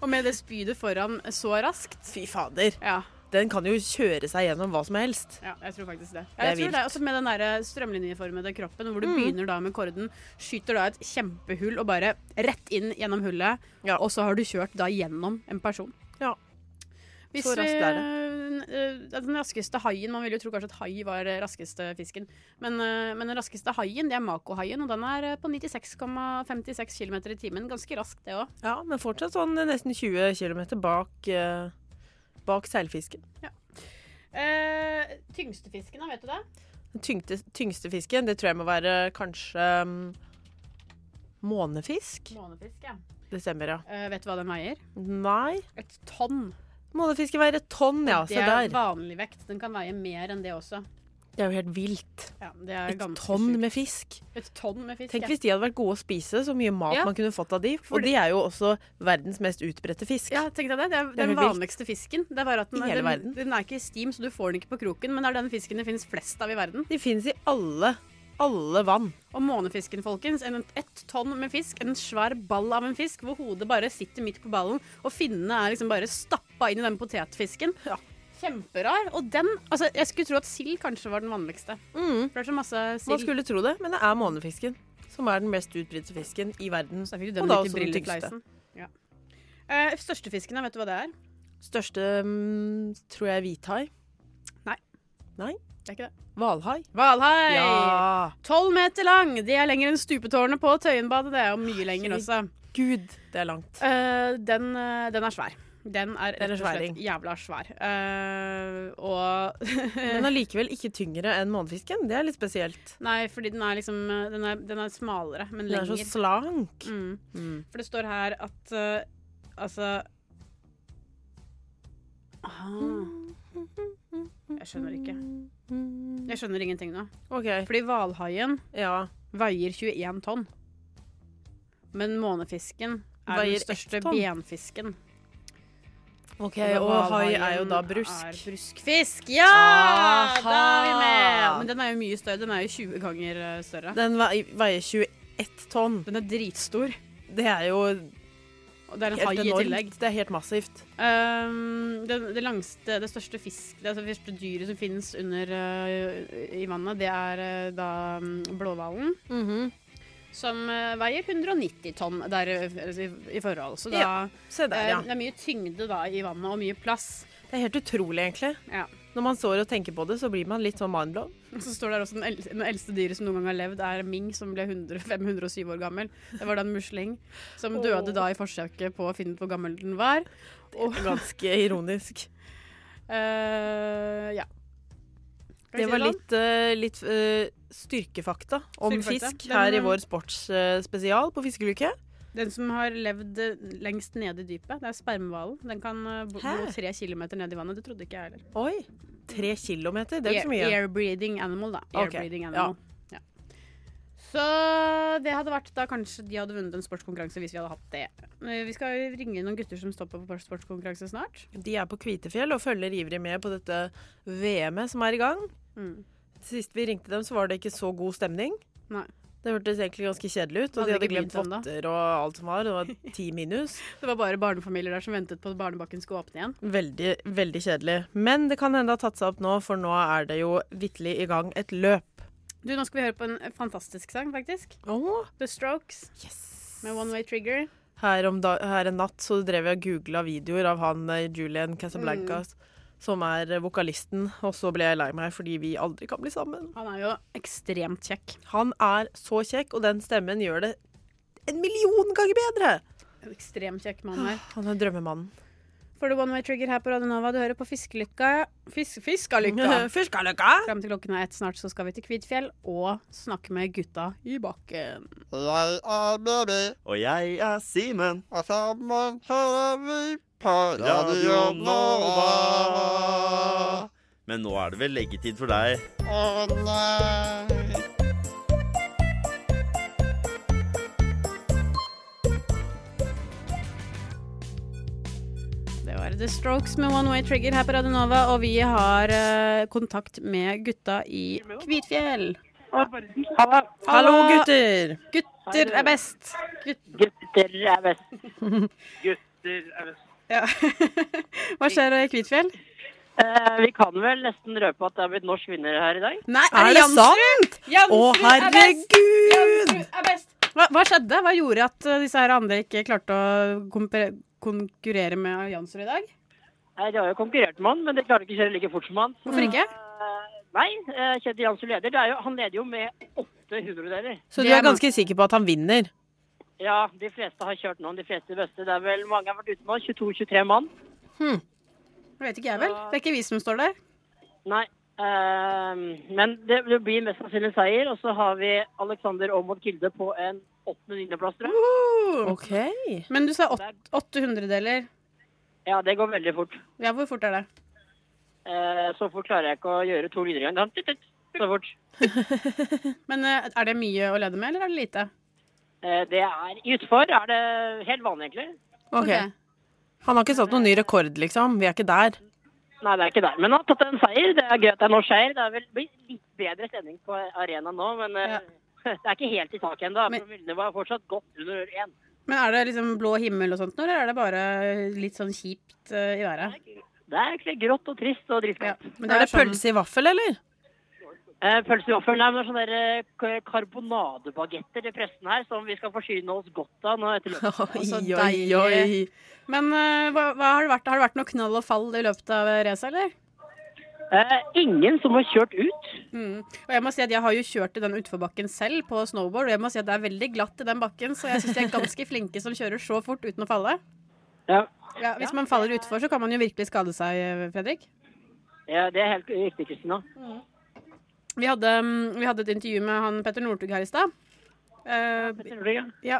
A: og med det spydet foran så raskt
B: Fy fader.
A: Ja.
B: Den kan jo kjøre seg gjennom hva som helst.
A: Ja, jeg tror faktisk det.
B: Det er
A: Jeg tror
B: vilt.
A: det er også med den der eh, strømlinjeformede kroppen, hvor du
B: Mm.
A: begynner da med korden, skyter da et kjempehull og bare rett inn gjennom hullet, og så har du kjørt da gjennom en person.
B: Ja.
A: Hvis
B: Så raskt
A: vi,
B: er det.
A: eh, Den raskeste haien Man ville jo tro kanskje at hai var eh, raskeste fisken. Men, eh, men den raskeste haien det er makohaien, og den er eh, på 96,56 km i timen. Ganske raskt, det òg.
B: Ja, men fortsatt sånn nesten 20 km bak, eh, bak seilfisken.
A: Eh, tyngste fisken, da, vet du det?
B: Den tyngste, tyngste fisken, det tror jeg må være kanskje mm, månefisk.
A: Månefisk, ja.
B: Det stemmer, ja.
A: Eh, vet du hva den veier?
B: Nei.
A: Et tonn.
B: Månefiske veier et tonn, ja. Se
A: det er
B: der.
A: vanlig vekt. Den kan veie mer enn det også.
B: Det er jo helt vilt.
A: Ja, det er
B: Et
A: ganske
B: tonn
A: sjukt.
B: med fisk.
A: Et tonn med fisk.
B: Tenk
A: ja.
B: hvis de hadde vært gode å spise, så mye mat
A: Ja.
B: man kunne fått av de.
A: For
B: Og de er jo også verdens mest utbredte fisk.
A: Ja, tenk deg det. Det er
B: Det er
A: den
B: helt vilt.
A: vanligste fisken. Det er bare at den,
B: I hele
A: den,
B: verden.
A: den er ikke i steam, så du får den ikke på kroken, men det er den fisken det finnes flest av i verden.
B: De finnes i alle, alle vann.
A: Og månefisken, folkens. En, ett tonn med fisk, en svær ball av en fisk, hvor hodet bare sitter midt på ballen, og finnene er liksom bare stappa inn i den potetfisken. Kjemperar. Og den altså, Jeg skulle tro at sild kanskje var den vanligste. For det er så masse sild.
B: Man Mm. skulle tro det, men det er månefisken som er den mest utbredte fisken i
A: den
B: verden. og da
A: litt i
B: også den tyngste.
A: brillekleisen. Ja. Eh, største fisken, da, vet du hva det er?
B: Største mm, tror jeg er hvithai.
A: Nei.
B: Nei?
A: Det er ikke det.
B: Hvalhai.
A: Hvalhai!
B: Ja.
A: Tolv meter lang! De er lenger enn stupetårnet på Tøyenbadet, det er jo mye lenger også.
B: Gud, det er langt.
A: Eh, den, eh, den er svær. Den er
B: Den er
A: rett og slett
B: sværing.
A: jævla svær. Eh, og
B: Men allikevel ikke tyngre enn månefisken. Det er litt spesielt.
A: Nei, fordi den er liksom eh, Den er, den er smalere, men
B: Den er
A: lenger.
B: så slank.
A: Mm.
B: Mm.
A: For det står her at eh, Altså ah. Jeg skjønner ikke. Jeg skjønner ingenting nå. Fordi hvalhaien veier 21 tonn. Men månefisken er
B: Veier ett
A: den største
B: tonn.
A: benfisken.
B: Ok,
A: da
B: Og hai er jo
A: hvalhaien
B: da brusk.
A: Er bruskfisk! Ja!
B: Aha!
A: Da er vi med! Men den er jo mye større. Den er jo 20 ganger eh, større.
B: Den vei- veier 21 tonn.
A: Den er dritstor.
B: Det er jo
A: Og det er en
B: helt
A: hai i
B: enormt.
A: tillegg.
B: Det er helt massivt.
A: Ehm, det, det langste, det største fisk, det, altså, det første dyret som finnes under eh, i vannet, det er eh, da mm, blåhvalen.
B: Mm-hmm.
A: Som eh, veier 190 tonn der, eh, i, i forhold. Så da,
B: Ja, se der,
A: eh,
B: ja.
A: det er mye tyngde da i vannet, og mye plass.
B: Det er helt utrolig, egentlig.
A: Ja.
B: Når man står og tenker på det, så blir man litt sånn mindblown.
A: Og Så står det også den, el den eldste dyret som noen gang har levd, er ming, som ble 100, 507 år gammel. Det var da en musling som
B: Åh.
A: døde da i forsøket på å finne ut hvor gammel den var. Og,
B: Ganske ironisk.
A: Eh, ja. Kan vi
B: Det
A: si
B: var
A: sånn?
B: litt, eh, litt eh, styrkefakta om
A: Styrkefakta.
B: fisk
A: Den- eh,
B: her i vår sportsspesial på Fiskeluke.
A: Den som har levd eh, lengst nede i dypet, det er spermhvalen. Den kan eh, bo
B: Hæ?
A: bo tre kilometer ned i vannet. Det trodde ikke jeg heller.
B: Oi! Tre kilometer, det er jo ikke så mye.
A: Air-breathing animal, da.
B: Ok,
A: Air-breathing animal. Ja. Så det hadde vært da kanskje de hadde vunnet en sportskonkurranse hvis vi hadde hatt det. Eh, Vi skal ringe noen gutter som står på på sportskonkurranse snart.
B: De er på Kvitefjell og følger ivrig med på dette VM-et som er i gang.
A: Mm.
B: Sist vi ringte dem, så var det ikke så god stemning.
A: Nei.
B: Det hørtes egentlig ganske kjedelig ut, og
A: Hadde
B: de hadde
A: ikke
B: glemt
A: begynt ennå.
B: votter og alt som var. Det var ti minus.
A: Det var bare barnefamilier der som ventet på at barnebakken skulle åpne igjen.
B: Veldig, veldig kjedelig. Men det kan hende det har tatt seg opp nå, for nå er det jo vitterlig i gang et løp.
A: Du, nå skal vi høre på en eh, fantastisk sang, faktisk. The Strokes med One Way Trigger.
B: Her, om da, her en natt så drev jeg og googla videoer av han eh, Julian Casablancas, som er eh, vokalisten, og så ble jeg lei meg fordi vi aldri kan bli sammen.
A: Han er jo ekstremt kjekk.
B: Han er så kjekk, og den stemmen gjør det en million ganger bedre!
A: En ekstremt kjekk mann her.
B: Han er drømmemannen.
A: Får du One Way Trigger her på Radio Nova. Du hører på Fiskelykka. Fis fiskalykka.
B: fiskalykka.
A: Frem til klokken er ett snart, så skal vi til Kvitfjell og snakke med gutta i bakken.
P: Jeg er Mary. Og jeg er Simen. Og sammen hører vi på Radio Nova.
Q: Men nå er det vel leggetid for deg.
P: Å nei.
A: Det var The Strokes med One Way Trigger her på Radio Nova, og vi har eh, kontakt med gutta i Kvitfjell.
K: Hallo.
A: Hallo,
B: gutter.
A: Gutter er best.
K: Gutter er best.
L: Gutter er best.
A: Hva skjer i Kvitfjell?
K: Eh, vi kan vel nesten røpe at det er blitt norsk vinner her i dag.
A: Nei, er det Jansrud? Jansrud
B: Å,
A: er best!
B: herregud!
A: Jansrud er best! Hva, hva skjedde? Hva gjorde at eh, disse her andre ikke klarte å kompre- konkurrere med Jansrud i dag?
K: Nei, De har jo konkurrert med han, men de klarer ikke å kjøre like fort som han.
A: Hvorfor ikke?
K: Nei, eh, Kjetil Jansson leder. Det er jo, han leder jo med åtte hundredeler.
B: Så du er ganske sikker på at han vinner?
K: Ja, de fleste har kjørt nå. De fleste beste. Det er vel mange har vært ute nå. 22-23 mann.
A: Det vet ikke jeg vel. Det er ikke vi som står der.
K: Nei. ehm, men det, det blir mest sannsynlig seier. Og så har vi Alexander Aamodt Kilde på en åttende-niendeplass, tror jeg.
B: Ok.
A: Men du sa åt- åtte hundredeler.
K: Ja, det går veldig fort.
A: Ja, hvor fort er det?
K: Eh, så fort klarer jeg ikke å gjøre to linjer engang. Tut, tut, Så fort.
A: Men eh, er det mye å lede med, eller er det lite?
K: Eh, det er I utfor er det helt vanlig, egentlig.
B: Ok. Han har ikke satt noen ny rekord, liksom. Vi er ikke der.
K: Nei, det er ikke der. Men han har tatt en seier. Det er gøy at det er norsk seier. Det er vel blir litt bedre stemning på arenaen nå, men eh, det er ikke helt i taket ennå. Promillene var fortsatt godt under én.
A: Men er det liksom blå himmel og sånt nå, eller er det bare litt sånn kjipt eh, i været?
K: Det er egentlig grått og trist og dritgodt.
B: Men er sånn- det
A: sånn-
B: pølse i vaffel, eller?
K: Eh, pølse i vaffel. Nei, men det er sånne der, eh, k- karbonadebagetter til pressen her, som vi skal forsyne oss godt av nå etter løpet.
A: Så deilig. Men eh, hva, hva har, det vært? har det vært noe knall og fall i løpet av racet, eller?
K: Eh, ingen som har kjørt ut.
A: Mm. Og jeg må si at jeg har jo kjørt i den utforbakken selv på snowboard, og jeg må si at det er veldig glatt i den bakken, så jeg syns de er ganske flinke som kjører så fort uten å falle.
K: Ja.
A: Ja, hvis man faller utfor, så kan man jo virkelig skade seg, eh, Fredrik.
K: Ja, det er helt riktig, Kristina.
A: Vi hadde, mm, vi hadde et intervju med han Petter Northug her i stad. Eh, ja.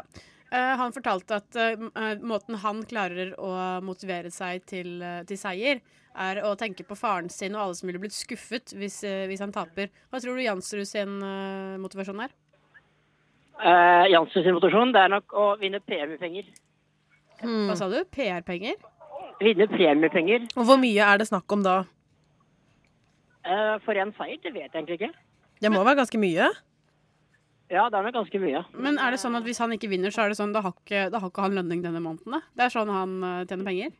A: Eh, han fortalte at eh, m- eh, måten han klarer å motivere seg til, eh, til seier, er å tenke på faren sin og alle som ville blitt skuffet hvis, eh, hvis han taper. Hva tror du Jansrud sin eh, motivasjon er?
K: Eh, Janssens invitasjon, det er nok å vinne premiepenger.
A: Hva sa du? PR-penger?
K: Vinne premiepenger.
B: Og hvor mye er det snakk om da?
K: Eh, for en seier, det vet jeg egentlig ikke.
B: Det må være ganske mye?
K: Ja, det er nok ganske mye.
A: Men er det sånn at hvis han ikke vinner, så er det sånn, da har ikke, da har ikke han lønning denne måneden? Da? Det er sånn han eh, tjener penger?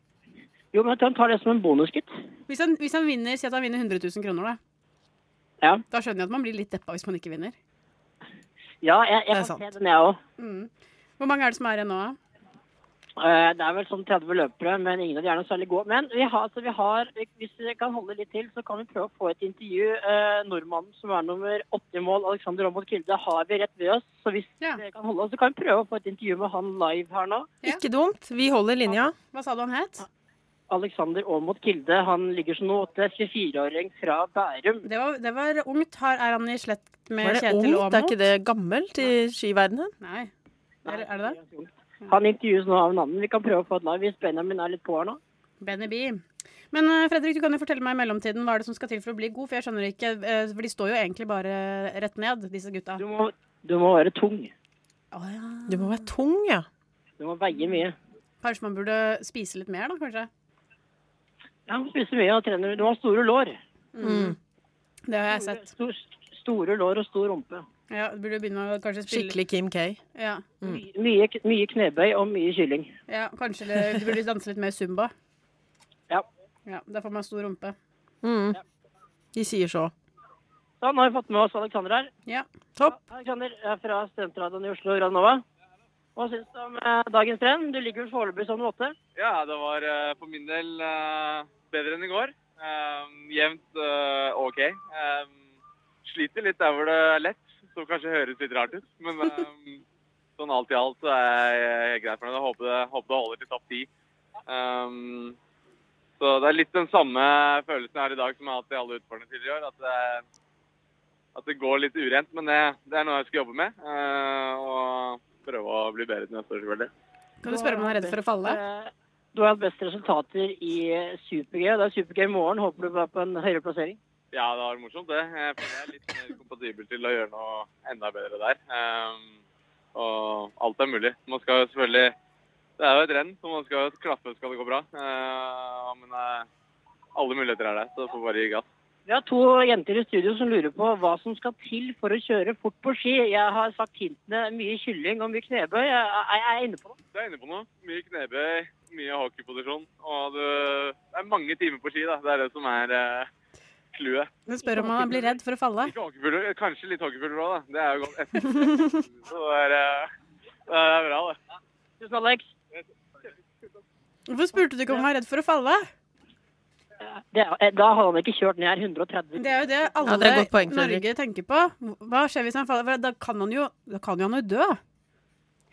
K: Jo, men han tar det som en bonusgutt.
A: Hvis han, hvis han vinner, si at han vinner 100 000 kroner, da.
K: Ja.
A: Da skjønner jeg at man blir litt deppa hvis man ikke vinner.
K: Ja, jeg, jeg kan se den, jeg òg.
A: Mm. Hvor mange er det som er igjen nå? da?
K: det er vel sånn 30 løpere, men ingen av de er noe særlig gode. Men vi har, altså, vi har, hvis vi kan holde litt til, så kan vi prøve å få et intervju. Eh, nordmannen som er nummer åtte i mål, Alexander Aamodt Kilde, har vi rett ved oss. Så hvis dere kan holde oss, så kan vi prøve å få et intervju med han live her nå.
B: Ikke dumt. Vi holder linja.
A: Hva sa du han het?
K: Alexander Aamodt Kilde, han ligger som nå åtte, 24-åring fra Bærum.
A: Det var, det var ungt. Her er han i slett
B: Var
A: med
B: det
A: Kjetil
B: ungt?
A: Aamodt.
B: Er ikke det gammelt i skiverdenen?
A: Nei. Er, er det det?
K: Han intervjues nå av en annen. Vi kan prøve å få et live hvis Benjamin er litt på her nå.
A: Benny B. Men eh, Fredrik, du kan jo fortelle meg i mellomtiden hva er det som skal til for å bli god, for jeg skjønner ikke eh, For de står jo egentlig bare rett ned, disse gutta. Du
K: må, Du må være tung.
B: Du må være tung, ja.
K: Du må veie mye.
A: Kanskje man burde spise litt mer, da, kanskje?
K: Ja, du spiser mye og trener. Du har store lår.
A: Mm. Det har jeg sett.
K: Store, store lår og stor rumpe.
A: Ja, du burde begynne å kanskje spille
B: Skikkelig Kim K.
A: Ja.
K: My- Mye, mye knebøy og mye kylling.
A: ja kanskje det, du burde danse litt mer zumba.
K: Ja.
A: ja. Da får man stor rumpe.
B: Mm. De sier så.
K: Sånn, nå har vi fått med oss Alexander her.
A: Ja.
B: Topp.
K: Alexander er fra Studentradioen i Oslo, Radnova. Hva syns du om eh, dagens trend? Du ligger vel foreløpig som nummer åtte?
R: Ja, det var eh, for min del eh, bedre enn i går. Eh, jevnt eh, OK. Eh, sliter litt der hvor det er lett, som kanskje høres litt rart ut. Men eh, sånn alt i alt så er jeg helt greit fornøyd. Jeg Håper det, håper det holder til topp ti. Eh, så det er litt den samme følelsen her i dag som jeg har hatt i alle utfordringene tidligere i år. At det, at det går litt urent. Men det, det er noe jeg skal jobbe med. eh, og prøve å bli bedre til neste år, selvfølgelig.
A: Kan du spørre om han er redd for å falle?
K: Du har hatt best resultater i eh, super-G. og Det er super-G i morgen. Håper du er på en høyere plassering.
R: Ja, det var morsomt det. Jeg føler jeg er litt mer kompatibel til å gjøre noe enda bedre der. Ehm, og alt er mulig. Man skal jo selvfølgelig Det er jo et renn, så man skal jo klaffe skal det gå bra. Ehm, men eh, alle muligheter er der, så får bare gi gass.
K: Vi har to jenter i studio som lurer på hva som skal til for å kjøre fort på ski. Jeg har sagt hintene mye kylling og mye knebøy. Jeg jeg- jeg er inne på noe.
R: Du er inne på noe. Mye knebøy, mye hockeyposisjon. Og du, det er mange timer på ski, da. Det er det som er uh, clouet.
A: Men spør om han blir redd for å falle.
R: Ikke hockeyfugler, kanskje litt hockeyfugler òg, da. Det er jo godt. Så det er, eh, det er bra, det.
K: Tusen Alex.
A: Hvorfor spurte du ikke om han var redd for å falle?
K: Det, eh, da hadde han ikke kjørt ned 130.
A: Det er jo det alle
K: Ja, det er et godt poeng, Fredrik.
A: Norge tenker på. Hva skjer hvis han faller? For Da kan han jo, da kan jo han jo dø.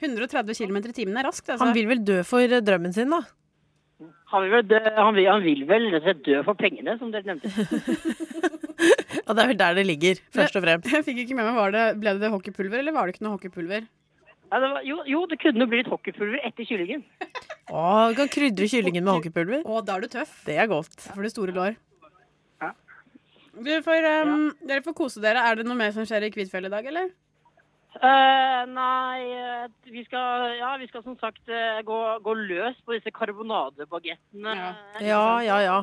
A: 130 km i timen er raskt, altså.
B: Han vil vel dø for eh, drømmen sin, da?
K: Han vil, vel dø, han, vil, han vil vel rett og slett dø for pengene, som dere nevnte.
B: Ja, det er vel der det ligger, først og fremst.
A: altså. Jeg fikk ikke med meg, var det, Ble det hockeypulver, eller var det ikke noe hockeypulver?
K: Ja, det var, jo, jo, det kunne jo bli litt hockeypulver etter kyllingen.
B: Å, du kan krydre kyllingen med hockeypulver.
A: Å, da er du tøff.
B: Det er godt.
A: For det store lår. Du får, ehm, Dere får kose dere. Er det noe mer som skjer i Kvitfjell i dag, eller?
K: Eh, nei, eh, vi skal, ja, vi skal som sagt eh, gå, gå løs på disse karbonadebagettene. Eh,
B: Ja, ja, ja.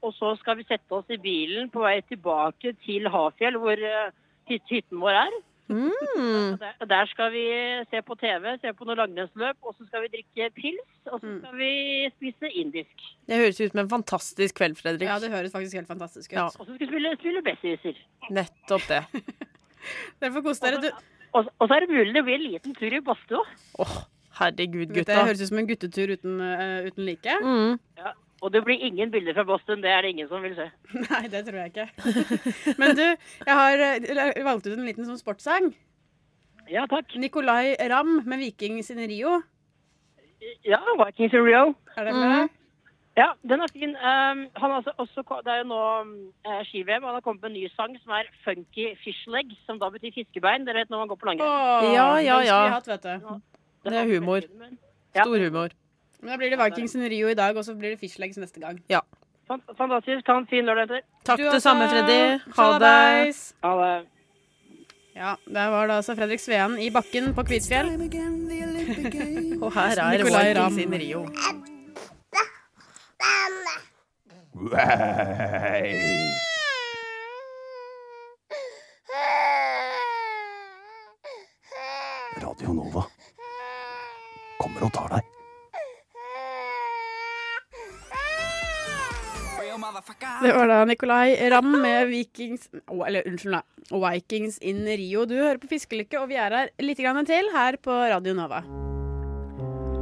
K: Og så skal vi sette oss i bilen på vei tilbake til Hafjell, hvor eh, hyt- hytten vår er.
B: Mm.
K: Der, og der skal vi se på TV, se på noe langrennsløp, og så skal vi drikke pils, og så
B: Mm.
K: skal vi spise indisk.
B: Det høres ut som en fantastisk kveld, Fredrik.
A: Ja, det høres faktisk helt fantastisk ut.
B: Ja.
K: Og så skal vi spille, spille Bessieser.
B: Nettopp det.
A: Dere får kose dere.
K: Og, og så er det mulig det blir en liten tur i badstua.
B: Herregud,
A: Det
B: gutta. Mm.
A: høres ut som en guttetur uten, eh, uten like.
K: Ja, og det blir ingen bilder fra Boston, det er det ingen som vil se.
A: Nei, det tror jeg ikke. Men du, jeg har eh, valgt ut en liten sånn sportssang.
K: Ja, takk.
A: Nicolay Ramm med Viking sin Rio.
K: Ja, Vikings in Rio.
A: Er det med?
B: Mm.
K: Ja, den er fin. Um, han har altså også, ko- det er jo nå um, eh, ski-VM, og han har kommet med en ny sang som er Funky Fishleg, som da betyr fiskebein. Dere vet når man går på langrenn.
B: Ja, ja, ja.
A: Det
B: er humor. Stor humor.
A: Men da blir det Vikings in Rio i dag, og så blir det Fishlegs neste gang.
B: Ja.
K: Fan- Fantastisk. Ha en fin lørdag etter.
B: Takk,
A: Du
B: det
A: også.
B: samme, Freddy. Ha det.
A: Sjalabais.
K: Ha det.
A: Ja, der var det altså Fredrik Sveen i bakken på Kvitfjell.
B: Og her er
A: Nicolai Ramm.
B: Vikings in Rio.
H: Radio Nova kommer og tar deg.
A: Det var da Nicolay Ramm med Vikings Å, Eller unnskyld, nei. Vikings in Rio. Du hører på Fiskelykke, og vi er her litt grann til her på Radio Nova.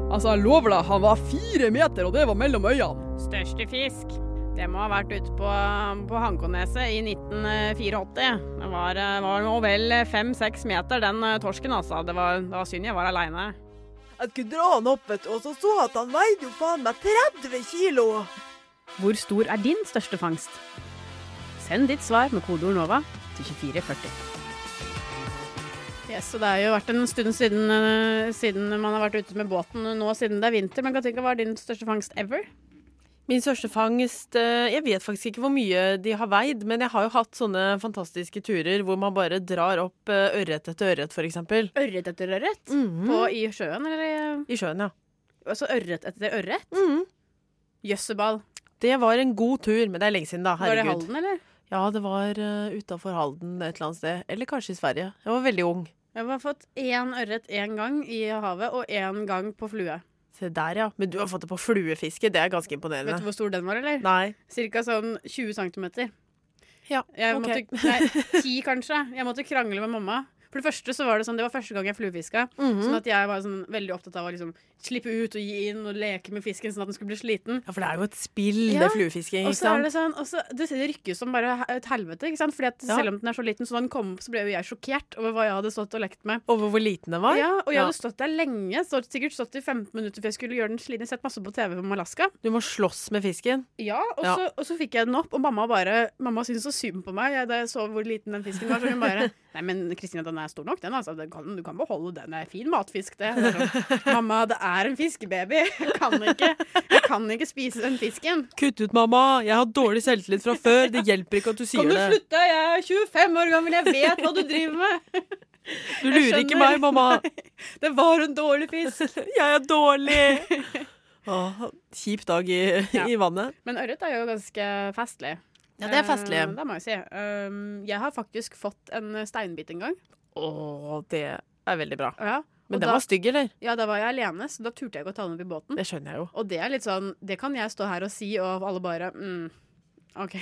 S: Altså, jeg lover deg, han var fire meter, og det var mellom øynene.
A: Største fisk. Det må ha vært ute på, på Hankoneset i 1984. Det var, eh, var nå vel fem-seks meter, den eh, torsken, altså. Det var, det var synd jeg var aleine.
T: Jeg skulle dra han opp, vet du, og så så jeg at han veide jo faen meg 30 kilo.
A: Hvor stor er din største fangst? Send ditt svar med kodeord NOVA til 2440. Yes, og Det har jo vært en stund siden, eh, siden man har vært ute med båten nå siden det er vinter. Men Katinka, hva er din største fangst ever?
B: Min største fangst eh, Jeg vet faktisk ikke hvor mye de har veid, men jeg har jo hatt sånne fantastiske turer hvor man bare drar opp eh, ørret etter ørret, f.eks.
A: Ørret etter ørret?
T: Mhm.
A: På- I sjøen, eller?
B: I sjøen, ja.
A: Altså ørret etter ørret?
B: Mm.
A: Jøsseball.
B: Det var en god tur, men det er lenge siden, da.
A: Var det i
B: Herregud.
A: Halden, eller?
B: Ja, det var uh, utafor Halden et eller annet sted. Eller kanskje i Sverige. Jeg var veldig ung.
A: Jeg har bare fått én ørret én gang i havet, og én gang på flue.
B: Se der, ja. Men du har fått det på fluefiske. Det er ganske imponerende.
A: Vet du hvor stor den var, eller?
B: Nei.
A: Cirka sånn 20 centimeter.
B: Ja,
A: jeg
B: ok.
A: måtte, nei, ti kanskje. Jeg måtte krangle med mamma. For Det første så var det sånn, det var første gang jeg fluefiska.
B: Mhm.
A: Sånn at jeg var sånn, veldig opptatt av å liksom, slippe ut og gi inn og leke med fisken sånn at den skulle bli sliten.
B: Ja, for det er jo et spill,
A: Ja,
B: det fluefisking.
A: Og
B: ikke
A: så er
B: sant?
A: det sånn, og så, det det rykker jo som bare he- et helvete. Ikke sant? Fordi at
B: Ja.
A: Selv om den er så liten, så da den kom opp, så ble jo jeg sjokkert over hva jeg hadde stått og lekt med.
B: Over hvor liten den var?
A: Ja, Og jeg
B: Ja.
A: hadde stått der lenge. Stått, sikkert stått i 15 minutter før jeg skulle gjøre den sliten. Jeg har Sett masse på TV om Alaska.
B: Du må slåss med fisken.
A: Ja, og,
B: Ja.
A: Så, og så fikk jeg den opp, og mamma bare Mamma syntes så synd på meg jeg, da jeg så hvor liten den fisken var. Så hun bare Nei, men Kristina, den er stor nok, den. Altså, den kan, du kan beholde den. Det er fin matfisk, det. Jeg var sånn, mamma, det er en fiskebaby. Jeg kan ikke, jeg kan ikke spise den fisken.
B: Kutt ut, mamma! Jeg har dårlig selvtillit fra før. Det hjelper ikke at du sier
A: Kan du
B: det.
A: slutte? Jeg er 25 år gammel, jeg vet hva du driver med. Jeg
B: Du lurer ikke
A: skjønner.
B: meg, mamma!
A: Det var en dårlig fisk.
B: Jeg er dårlig! Åh, kjip dag i, i vannet.
A: Men ørret er jo ganske festlig.
B: Ja, det er festlig.
A: Eh, det må jeg si. Um, jeg har faktisk fått en steinbit en gang.
B: Å, det er veldig bra.
A: Ja. og
B: Men den
A: da-
B: var stygg, eller?
A: Ja, da var jeg alene, så da turte jeg ikke å ta den opp i båten.
B: Det skjønner jeg jo.
A: Og det er litt sånn, det kan jeg stå her og si, og alle bare mm, OK.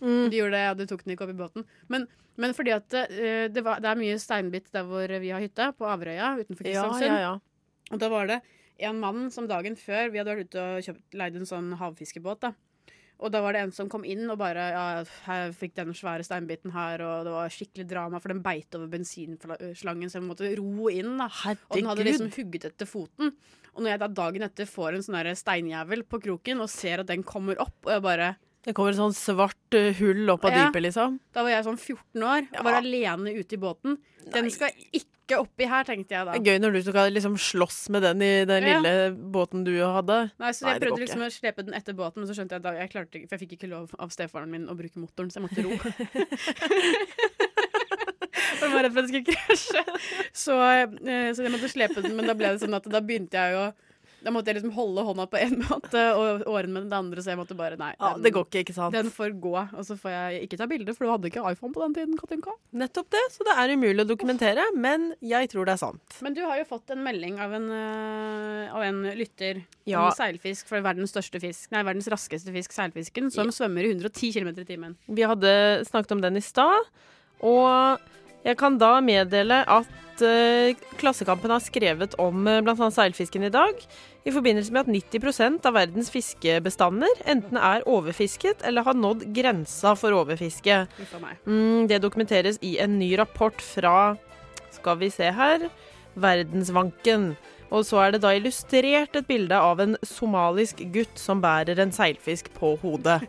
B: Mm.
A: Du gjorde det, ja, du tok den ikke opp i båten. Men, men fordi at eh, det, var, det er mye steinbit der hvor vi har hytte, på Averøya utenfor
B: Ja,
A: Kristiansund.
B: ja, ja.
A: Og da var det en mann som dagen før Vi hadde vært ute og kjøpt, leid en sånn havfiskebåt. da. Og da var det en som kom inn og bare ja, jeg fikk den svære steinbiten her, og det var skikkelig drama, for den beit over bensinslangen, så jeg måtte ro inn. da. Og den hadde
B: Herregud.
A: liksom hugget etter foten. Og når jeg da dagen etter får en sånn der steinjævel på kroken og ser at den kommer opp, og jeg bare
B: Det kommer et sånn svart eh, hull opp av
A: Ja.
B: dypet, liksom.
A: Da var jeg sånn 14 år og var alene ute i båten. Den skal ikke oppi her, tenkte jeg da.
B: Det er gøy når du skal liksom slåss med den i den
A: Ja.
B: lille båten du hadde.
A: Nei, så jeg
B: det går
A: prøvde liksom
B: ikke.
A: å slepe den etter båten, men så skjønte jeg at da- jeg klarte ikke, for jeg fikk ikke lov av stefaren min å bruke motoren, så jeg måtte ro. For jeg var redd for at det skulle krasje. Så, eh, så jeg måtte slepe den, men da ble det sånn at da begynte jeg jo Da måtte jeg liksom holde hånda på en måte og årene med den andre, så jeg måtte bare Nei.
B: Ja, det går ikke, ikke sant?
A: Den får gå. Og så får jeg ikke ta bilde, for du hadde ikke iPhone på den tiden, Katinka.
B: Nettopp det, så det er umulig å dokumentere, men jeg tror det er sant.
A: Men du har jo fått en melding av en, øh, av en lytter
B: Ja.
A: om seilfisk fra verdens største fisk, nei, verdens raskeste fisk, seilfisken, som svømmer i 110 km i timen.
B: Vi hadde snakket om den i stad, og jeg kan da meddele at eh, Klassekampen har skrevet om eh, blant bl.a. seilfisken i dag, i forbindelse med at 90 av verdens fiskebestander enten er overfisket eller har nådd grensa for overfiske.
A: Uff a meg.
B: Mm, det dokumenteres i en ny rapport fra Skal vi se her Verdensvanken. Og så er det da illustrert et bilde av en somalisk gutt som bærer en seilfisk på hodet.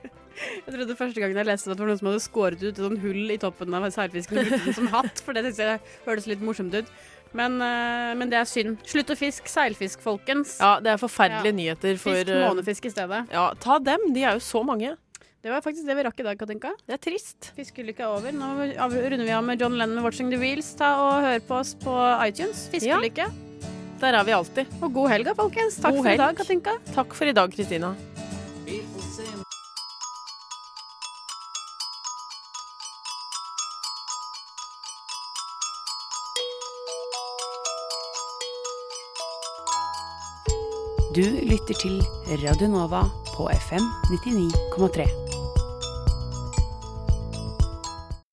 A: Jeg trodde første gangen jeg leste det, at det var noen som hadde skåret ut et sånn hull i toppen av seilfisken og brukt den som hatt, for det synes jeg hørtes litt morsomt ut. Men, øh, men det er synd. Slutt å fiske seilfisk, folkens.
B: Ja, det er forferdelige nyheter for
A: Fisk
B: eh,
A: månefisk i stedet.
B: Ja, ta dem. De er jo så mange.
A: Det var faktisk det vi rakk i dag, Katinka.
B: Det er trist.
A: Fiskeulykka er over. Nå av- runder vi av med John Lennon med 'Watching the Wheels'. Ta og Hør på oss på iTunes. Fiskelykke.
B: Der er vi alltid.
A: Og god helg, da, folkens. Takk
B: God
A: for i dag,
B: helg.
A: Katinka.
B: Takk for i dag, Kristina.
U: Du lytter til Radio Nova på FM 99,3.